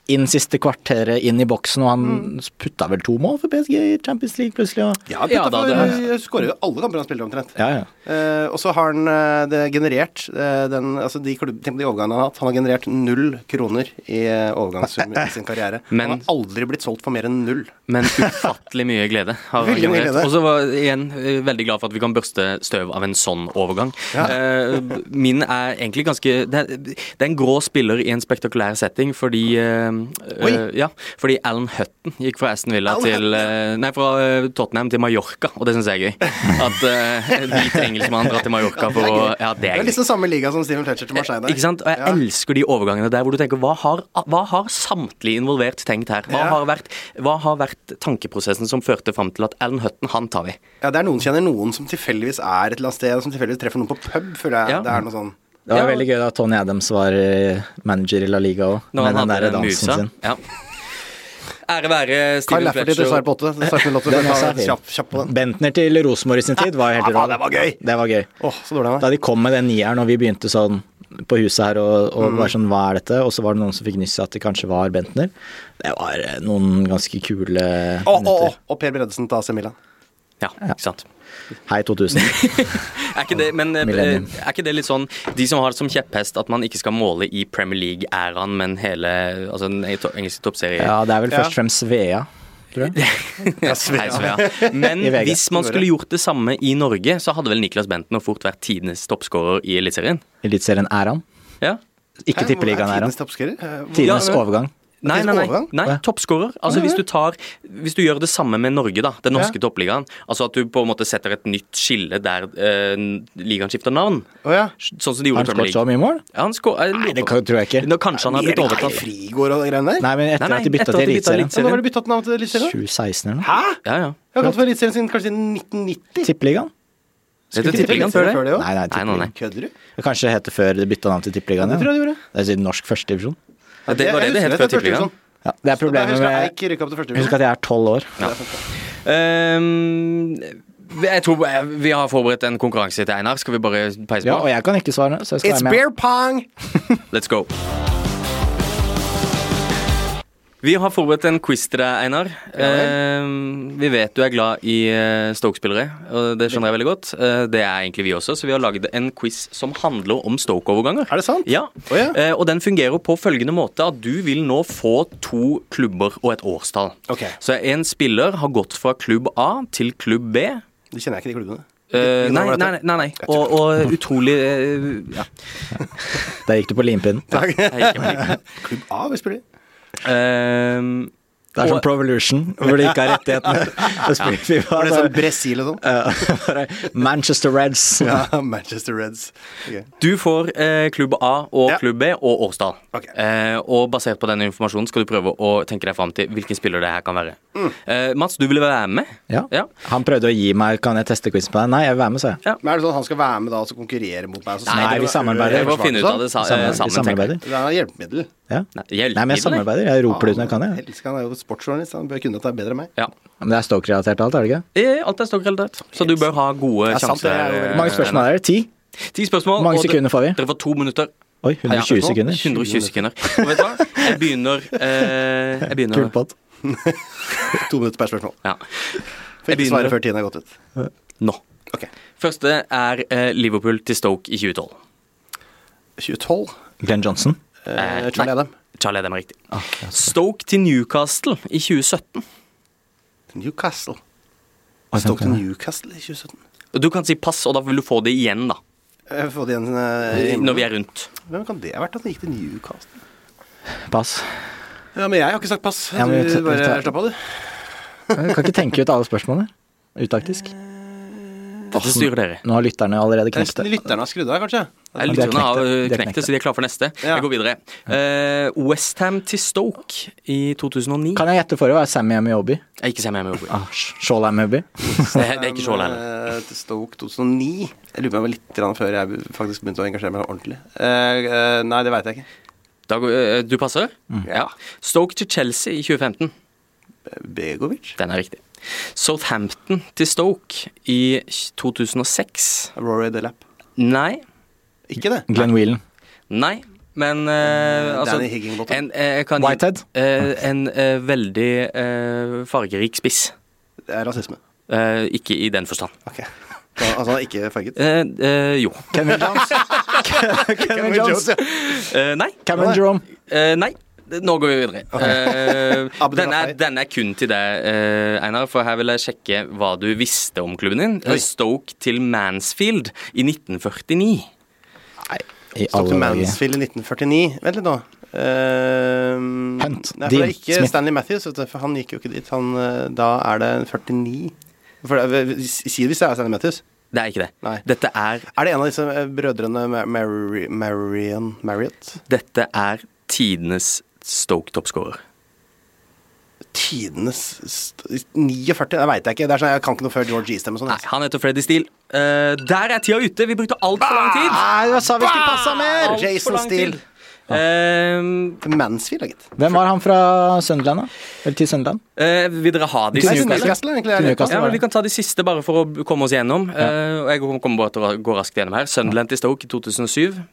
S2: inn siste kvarteret, inn i boksen, og han
S3: Mm.
S2: putta vel to mål for PSG i Champions League plutselig. Og,
S3: Ja,
S1: Ja, da,
S3: Putta skårer jo alle kamper han spiller, omtrent.
S2: ja, ja.
S3: Eh, og så har han eh, det generert eh, den, altså de, klubb, tenk på de overgangene han har hatt. Han har generert null kroner i eh, overgangssum i sin
S1: [LAUGHS]
S3: karriere.
S1: Men-
S3: han har aldri blitt solgt for mer enn null.
S1: Men ufattelig mye glede. har han
S3: Veldig mye
S1: generert.
S3: glede.
S1: Og så var jeg igjen eh, veldig glad for at vi kan børste støv av en sånn overgang. Eh, min er egentlig ganske det er, det er en grå spiller i en spektakulær setting, fordi eh,
S3: Oi.
S1: eh, Ja, fordi Alan Hutton gikk fra Aston Villa
S3: Alan
S1: til eh, Nei, fra eh, Tottenham til Mallorca, og det syns jeg er gøy. At eh, en hvit engelskmann drar til Mallorca
S3: [LAUGHS]
S1: for å Ja, det
S3: Det
S1: er
S3: er
S1: gøy.
S3: liksom samme liga som Steven Fletcher til Marseille. der.
S1: Eh, Ikke sant? Og jeg
S3: Ja.
S1: elsker de overgangene der hvor du tenker hva har, hva har samtlige involvert tenkt her? Hva,
S3: Ja.
S1: har vært, hva har vært tankeprosessen som førte fram til at Alan Hutton, han tar vi?
S3: Ja, det er noen som kjenner noen som tilfeldigvis er et eller annet sted, og som tilfeldigvis treffer noen på pub, føler jeg.
S1: Ja.
S3: Det er noe sånn
S2: Det var
S1: Ja.
S2: veldig gøy da Tony Adams var eh, manager i La Liga òg,
S1: Når
S2: med
S1: han
S2: den
S1: hadde
S2: der
S1: den
S2: dansen
S1: musa.
S2: sin.
S1: Ja. Ære være
S3: Kyle
S1: Steven
S3: Lafferty til
S1: Fletcher.
S3: svar på åtte. Det starter med låter,
S2: Den
S3: men
S2: også
S3: ta
S2: er fin.
S3: kjapp, kjapp på den.
S2: Bentner til Rosenborg i sin tid var jo helt
S3: Ja,
S2: rå.
S3: det var gøy.
S2: Det var gøy.
S3: Åh, så dårlig han er.
S2: Da de kom med den nieren, og vi begynte sånn på huset her og, og var sånn hva er dette? Og så var det noen som fikk nyss i at det kanskje var Bentner. Det var eh, noen ganske kule
S3: Å, å, å,
S2: minutter.
S3: og Per Bredesen til AC Milan.
S1: Ja, ikke sant.
S2: Hei 2000.
S1: Er ikke, det, men, eh,
S2: Millennium.
S1: er ikke det litt sånn De som har det som kjepphest at man ikke skal måle i Premier League-æraen, men hele altså den to- engelske toppserien?
S2: Ja, det er vel først og
S3: Ja.
S2: fremst Svea. tror jeg. [LAUGHS]
S1: Hei, Svea. Men
S2: I VG.
S1: hvis man skulle gjort det samme i Norge, så hadde vel Niklas Bentner fort vært tidenes toppskårer i Eliteserien?
S2: Eliteserien er han.
S1: Ja.
S2: Ikke
S3: Hæ, hvor
S2: Tippeligaen er han.
S3: Tidenes toppskårer? Eh, hvor-
S2: Tidenes
S3: Ja, men-
S2: overgang.
S1: Nei,
S3: Faktisk
S1: nei, nei,
S3: overgang?
S1: nei
S2: Å, ja.
S1: toppskårer. Altså, hvis, du tar, hvis du gjør det samme med Norge, da, den norske
S3: Ja.
S1: toppligaen Altså at du på en måte setter et nytt skille der eh, ligaen skifter navn.
S3: Å ja.
S1: Sånn som de
S2: Har
S1: gjorde i
S2: han
S1: Premier
S2: skåret så
S1: League.
S2: mye mål?
S1: Ja, han skår, jeg,
S2: Nei,
S1: lurer
S2: det
S1: på-
S2: kan- tror jeg ikke.
S1: Nå, kanskje han har blitt
S3: Erik Eie
S1: overtatt.
S3: Frigård og de greiene der?
S2: Nei, men etter
S1: Nei, nei,
S2: at de
S1: etter
S2: bytta
S1: at
S2: til
S1: de bytta til
S2: Eliteserien.
S3: Ja, Nå har de byttet navn til Eliteserien. da.
S2: 2016 eller noe.
S3: Hæ?
S1: Ja, ja.
S3: Jeg har gått for Eliteserien siden kanskje siden 1990.
S2: Tippeligaen?
S1: Heter det
S3: Skulle
S1: Tippeligaen
S3: ikke
S1: før det?
S3: Før det også?
S2: Nei, nei,
S1: Nei, nei, nei.
S2: tippeligaen.
S3: Kødder du?
S2: Det Kanskje det heter før det bytta navn til Tippeligaen.
S3: Det tror jeg de gjorde.
S2: Det er siden norsk førstedivisjon.
S1: Ja, Det var det det
S3: Jeg
S1: het
S3: husker
S1: før
S3: første divisjon.
S1: tippeligaen.
S2: Ja, det er problemet
S3: Jeg husker Eik
S2: med
S3: rykket opp til
S2: Husk
S3: første divisjon.
S2: at jeg er tolv år.
S1: Ehm, jeg tror eh, vi har forberedt en konkurranse til Einar. Skal vi bare peise
S2: Ja, og
S1: på?
S2: jeg kan ikke svare, så jeg skal
S3: It's
S2: være med.
S3: beer pong!
S1: Let's go. Vi har forberedt en quiz til deg, Einar. Eh, vi vet du er glad i eh, Stoke-spillere, og det skjønner jeg veldig godt. Eh, det er egentlig vi også, så vi har lagd en quiz som handler om Stoke-overganger.
S3: Er det sant?
S1: Ja,
S3: Å ja.
S1: Eh, og den fungerer på følgende måte at du vil nå få to klubber og et årstall.
S3: Ok.
S1: Så en spiller har gått fra klubb A til klubb B.
S3: Det kjenner jeg ikke de klubbene.
S1: Eh,
S3: Ingen
S1: nei,
S3: over dette.
S1: nei, nei, nei. Og, og utrolig eh, ja.
S2: Der gikk du på limpinnen.
S3: Takk.
S1: Jeg gikk hjem.
S3: [LAUGHS] Klubb A, vi spiller.
S1: Eh,
S3: sånn
S2: Det er
S1: Og-
S2: som Provolution, hvor de ikke har
S3: [LAUGHS]
S2: rettighetene. Da spiller vi
S3: Var det
S2: bare-
S3: sånn Brasil og sånn?
S2: [LAUGHS] bare Manchester Reds.
S3: [LAUGHS]
S1: [LAUGHS]
S3: Ja, Manchester Reds. Ok.
S1: Du får eh, klubb A og
S3: Ja.
S1: klubb B og årstall.
S3: Ok.
S1: Eh, og basert på denne informasjonen skal du prøve å tenke deg fram til hvilken spiller det her kan være.
S3: Mm.
S1: Eh, Mats, du ville være med?
S2: Ja.
S1: Ja.
S2: Han prøvde å gi meg Kan jeg teste quizen på deg? Nei, jeg vil være med, sa jeg.
S3: Men er det sånn at han skal være med da og så konkurrere mot meg? og Så
S2: Nei,
S3: snakker
S2: vi samarbeider.
S1: Vi
S3: Det
S1: må finne ut av det sa, eh,
S2: Samarbe-
S1: sammen.
S2: vi
S1: tenker jeg.
S2: samarbeider.
S3: Det er hjelpemiddel.
S2: Ja.
S1: Nei, hjelp,
S2: Nei, men
S1: gir det deg.
S2: jeg samarbeider. Jeg roper det ut når jeg kan. Jeg.
S3: Elsker han er jo sportsjournalist, han bør kunne dette bedre enn meg.
S1: Ja.
S2: Men det er Stoke-relatert alt, er det ikke?
S1: Eh, Alt er stokkrellatert, så du bør ha gode
S3: Ja, sant, det
S1: sjanser.
S3: er jo veldig-
S1: eh,
S2: Hvor mange spørsmål er det? Ti?
S1: Ti spørsmål.
S2: Mange
S1: og dere-
S2: sekunder får vi?
S1: Dere får to minutter.
S2: Oi, 120
S3: Ja,
S2: sekunder.
S1: 120 sekunder. Og vet du hva? Jeg begynner eh, Jeg begynner
S2: Kul pott.
S3: To minutter per spørsmål.
S1: ja.
S3: For
S1: Jeg
S3: ikke
S1: begynner.
S3: svare før tiden er gått ut.
S1: nå.
S3: Ok.
S1: Første er eh, Liverpool til Stoke i 2012.
S3: 2012.
S2: Glenn Johnson.
S3: Eh,
S1: Eh,
S3: Charlie
S1: nei.
S3: Adam.
S1: Charlie Adam er riktig. Stoke til Newcastle i 2017.
S3: Newcastle.
S2: Oi,
S3: Stoke til
S2: tenker jeg.
S3: Newcastle i 2017.
S1: Og Du kan si pass, og da vil du få det igjen, da.
S3: Jeg får det igjen eh,
S1: Når vi er rundt.
S3: Hvem kan det ha vært at han gikk til Newcastle?
S2: Pass.
S3: Ja, Men jeg har ikke sagt pass.
S2: Ja, men vi
S3: du
S2: tar- vi
S3: bare
S2: tar-
S3: slapp av, du.
S2: Jeg kan ikke tenke ut alle spørsmålene. Utaktisk.
S1: Dette styrer dere.
S2: Nå har lytterne allerede
S3: Det er nesten
S2: knekt det.
S3: Lytterne har skrudd av, kanskje?
S1: Jeg
S2: de er
S1: lurer på om
S2: knekte.
S1: de har
S2: De er
S1: knekte,
S2: knekte.
S1: så de er klare for neste.
S3: Ja.
S1: Jeg går videre. Eh, Westham til Stoke i 2009.
S2: Kan jeg gjette forrige? Var det Sammy Amiobi?
S1: Jeg ikke se meg med Obi.
S2: Ah, Shaw Amiobi?
S1: Det er det er ikke Shaw heller.
S3: Eh, til Stoke 2009. Jeg lurer på om det var litt grann før jeg faktisk begynte å engasjere meg ordentlig. Eh, eh, nei, det veit jeg ikke.
S1: Da går- eh, Du passer? Ja. Stoke til Chelsea i 2015.
S3: Eh, Begovic?
S1: Den er riktig. Southampton til Stoke i 2006.
S3: Rory Delap?
S1: Nei.
S3: Ikke det?
S2: Glenn Whelan.
S1: Nei. Men eh, altså
S3: Danny Higginbottom.
S1: en, eh, kan gi-
S2: Whitehead?
S1: eh, en eh, veldig eh, fargerik spiss.
S3: Det er rasisme.
S1: Eh, ikke i den forstand.
S3: Ok. [LAUGHS] Da- Altså, han er
S2: [LAUGHS]
S3: ikke farget.
S1: Eh, eh, jo.
S2: Cameron Jones? Cameron Jones.
S3: ja.
S1: Eh, nei.
S2: Cameron Jerome.
S1: Eh, nei. Nå går vi videre.
S3: [LAUGHS]
S1: Eh,
S3: Abdel
S1: denne, er,
S3: Rahai.
S1: denne er kun til deg, eh, Einar, for her vil jeg sjekke hva du visste om klubben din.
S3: Oi.
S1: Stoke til Mansfield i 1949.
S2: I
S3: Stoke
S2: alle dager.
S3: Mansfield i 1949. Vent litt nå. Ehm,
S2: Hunt.
S3: Nei, for det
S2: Dean
S3: er ikke
S2: Smith.
S3: Stanley Matthews, vet du, for han gikk jo ikke dit. Han, eh, da er det 49 for eh, det, er- Si det hvis det er Stanley Matthews.
S1: Det er ikke det.
S3: Nei.
S1: Dette er,
S3: Er det en av disse eh, brødrene Ma- Mary- Marion Marriott?
S1: dette er tidenes Stoke-toppskårer.
S3: Tidenes st- 49? Det veit jeg ikke. Det er sånn, Jeg kan ikke noe før George Eastham og sånn.
S1: Nei,
S3: altså.
S1: han heter Freddy Steele. Eh, der er tida ute! Vi brukte altfor lang tid.
S2: Nei, jeg sa Ah, vi skulle passe mer!
S1: Alt for
S3: Ah! Jason
S1: lang tid.
S3: Steele.
S1: Eh,
S3: Mansfield, da, gitt.
S2: Hvem var han fra Sunderland, da? Eller til Sunderland?
S1: eh, vil dere ha de
S3: Til
S1: siste? eller?
S2: altså.
S3: Newcastle, egentlig. er det-
S2: Newcastle.
S1: Ja,
S2: var
S1: men
S2: det.
S1: Vi kan ta de siste bare for å komme oss gjennom. Eh, og jeg kommer- kommer bare til å ra- gå raskt gjennom her. Sunderland til Stoke i 2007.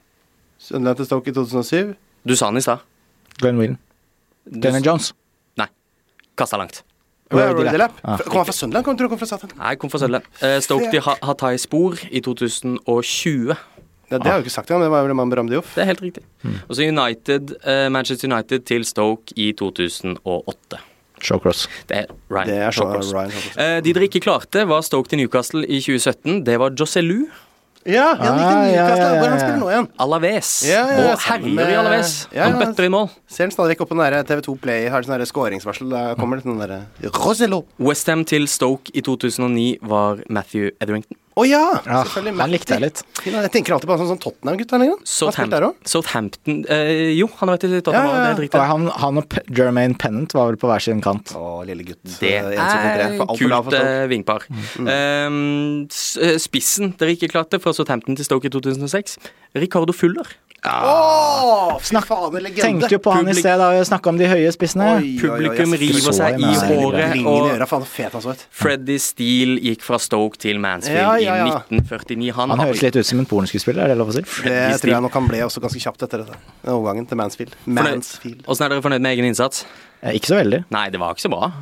S3: Sunderland til Stoke i 2007.
S1: Du sa den i stad.
S2: Glenn Whelan. Glenn Jones.
S1: Kasta langt.
S3: Roy Delap.
S2: Ja.
S3: Kom han fra Sunderland? Kom, tror du han kom fra Satan?
S1: Nei, kom fra Sunderland. Eh, Stoke til Ha- Hatay Spor i 2020.
S3: Ja, det har jeg jo ikke sagt engang, men det var vel Mambe Ramdioff.
S1: Det er helt riktig.
S2: Mm.
S1: Og så United, eh, Manchester United til Stoke i 2008.
S2: Showcross.
S1: Det er Ryan
S3: Det er så
S1: Shawcross.
S3: Ryan Shawcross.
S1: Eh, de dere ikke klarte, var Stoke til Newcastle i 2017. Det var Joselu,
S3: Ja,
S2: Ah,
S3: ja,
S2: ja, ja,
S3: Newcastle. Hvor
S2: ja,
S3: er han
S2: ja.
S3: spiller nå igjen?
S1: Alaves
S3: Ja, ja,
S1: og
S3: sammen
S1: herjer i
S3: med-
S1: Alaves.
S3: Ja,
S1: Han
S3: ja.
S1: bøtter inn mål.
S3: Ser den stadig vekk opp på den der TV2 Play, har sånn der skåringsvarsel. Da kommer det sånn derre Rosello.
S1: Westham til Stoke i 2009 var Matthew Etherington.
S3: Å ja!
S2: Ja,
S3: Selvfølgelig.
S2: Ah, han likte jeg litt.
S3: Jeg tenker alltid på han som sånn Tottenham-gutt. Han lenger. Han har
S1: Southam-
S3: spilt der òg.
S1: Southampton eh, Jo, han har vært i Tottenham.
S3: Ja,
S1: Det
S3: ja, ja.
S1: er helt
S2: Og
S1: riktig.
S2: han, han og P Jermaine Pennant var vel på hver sin kant.
S3: Å, lille gutt.
S1: Det er kult eh, vingpar.
S3: Mm.
S1: Eh, s- eh, spissen dere ikke klarte, fra Southampton til Stoke i 2006, Ricardo Fuller.
S3: Å, fy
S2: Snakk-
S3: faen, en legende.
S2: Tenkte jo på han i
S1: Publik-
S2: sted da vi snakka om de høye spissene.
S3: Oi, oi, oi, jeg
S1: Publikum
S3: skulle
S1: river
S2: så
S1: seg
S2: henne
S1: i
S2: her i
S1: håret,
S3: Ringen i
S1: og
S3: øra, faen, så fet han så ut.
S1: Freddy Steele gikk fra Stoke til Mansfield
S3: Ja, ja, ja.
S1: i 1949. Han,
S2: Han
S1: har-
S2: høres litt ut som en pornoskudspiller, er det lov å si?
S3: Det
S1: Freddy
S3: tror
S1: Steele.
S3: jeg nok han ble også ganske kjapt etter dette. Den Overgangen til Mansfield.
S1: Fornøyd-
S3: Mansfield.
S1: Åssen er dere fornøyd med egen innsats?
S2: Eh, Ikke så veldig.
S1: Nei, det var ikke så bra.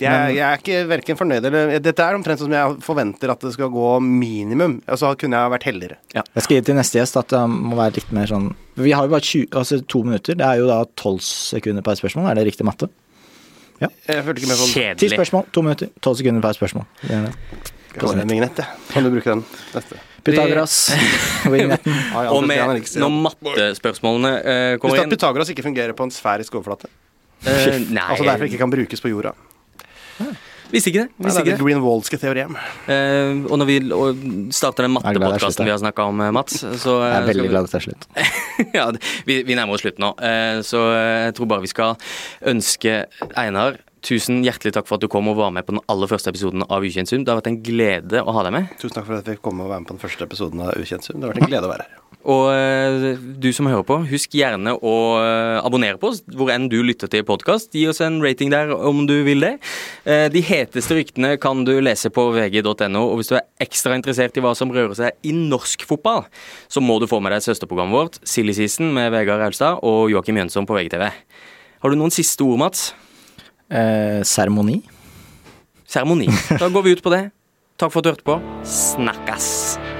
S3: Jeg, jeg er ikke hverken fornøyd eller Dette er omtrent sånn som jeg forventer at det skal gå minimum. Altså kunne jeg vært heldigere.
S2: Jeg skal gi til neste gjest at det må være litt mer sånn Vi har jo bare 20, altså to minutter. Det er jo da tolv sekunder per spørsmål. Er det riktig matte?
S3: Jeg følte ikke sånn- med på
S2: Ti
S1: Kjedelig.
S2: spørsmål, to minutter. Tolv sekunder per spørsmål. Det er det.
S3: den. Jeg vignett, jeg. Kan du bruke den neste?
S2: Pythagoras. vignetten.
S3: Ai,
S1: Og
S3: Anders Stian
S1: med,
S3: Eriksen, ja.
S1: når mattespørsmålene eh,
S3: Husk
S1: kommer
S3: at
S1: inn
S3: Pythagoras ikke fungerer på en sfærisk overflate.
S1: eh, Nei,
S3: Altså derfor ikke kan brukes på jorda.
S1: visste ikke det.
S3: Nei,
S1: Visste
S3: det er
S1: ikke
S3: det
S1: det.
S3: Greenwaldske teorem.
S1: Eh, og når vi og starter den
S2: Jeg er glad jeg
S1: mattepodkasten
S2: sluttet.
S1: vi har snakka om, eh, Mats, så eh,
S2: Jeg er
S1: skal
S2: veldig
S1: vi-
S2: glad det er slutt.
S1: [LAUGHS] ja, det- vi, vi nærmer oss slutten nå, eh, så eh, jeg tror bare vi skal ønske Einar Tusen hjertelig takk for at du kom og var med på den aller første episoden av Ukjent sum. Det har vært en glede å ha deg med.
S3: Tusen takk for at jeg fikk komme og være med på den første episoden av Ukjent sum. Det har vært en glede å være her.
S1: Og eh, du som hører på, husk gjerne å eh, abonnere på oss hvor enn du lytter til podkast. Gi oss en rating der om du vil det. Eh, De heteste ryktene kan du lese på vg.no. Og hvis du er ekstra interessert i hva som rører seg i norsk fotball, så må du få med deg søsterprogrammet vårt, Silly Season med Vegard Aulstad og Joakim Jønsson på VGTV. Har du noen siste ord, Mats?
S2: Eh, Seremoni.
S1: [LAUGHS] Seremoni. Da går vi ut på det. Takk for at du hørte på. Snakkes!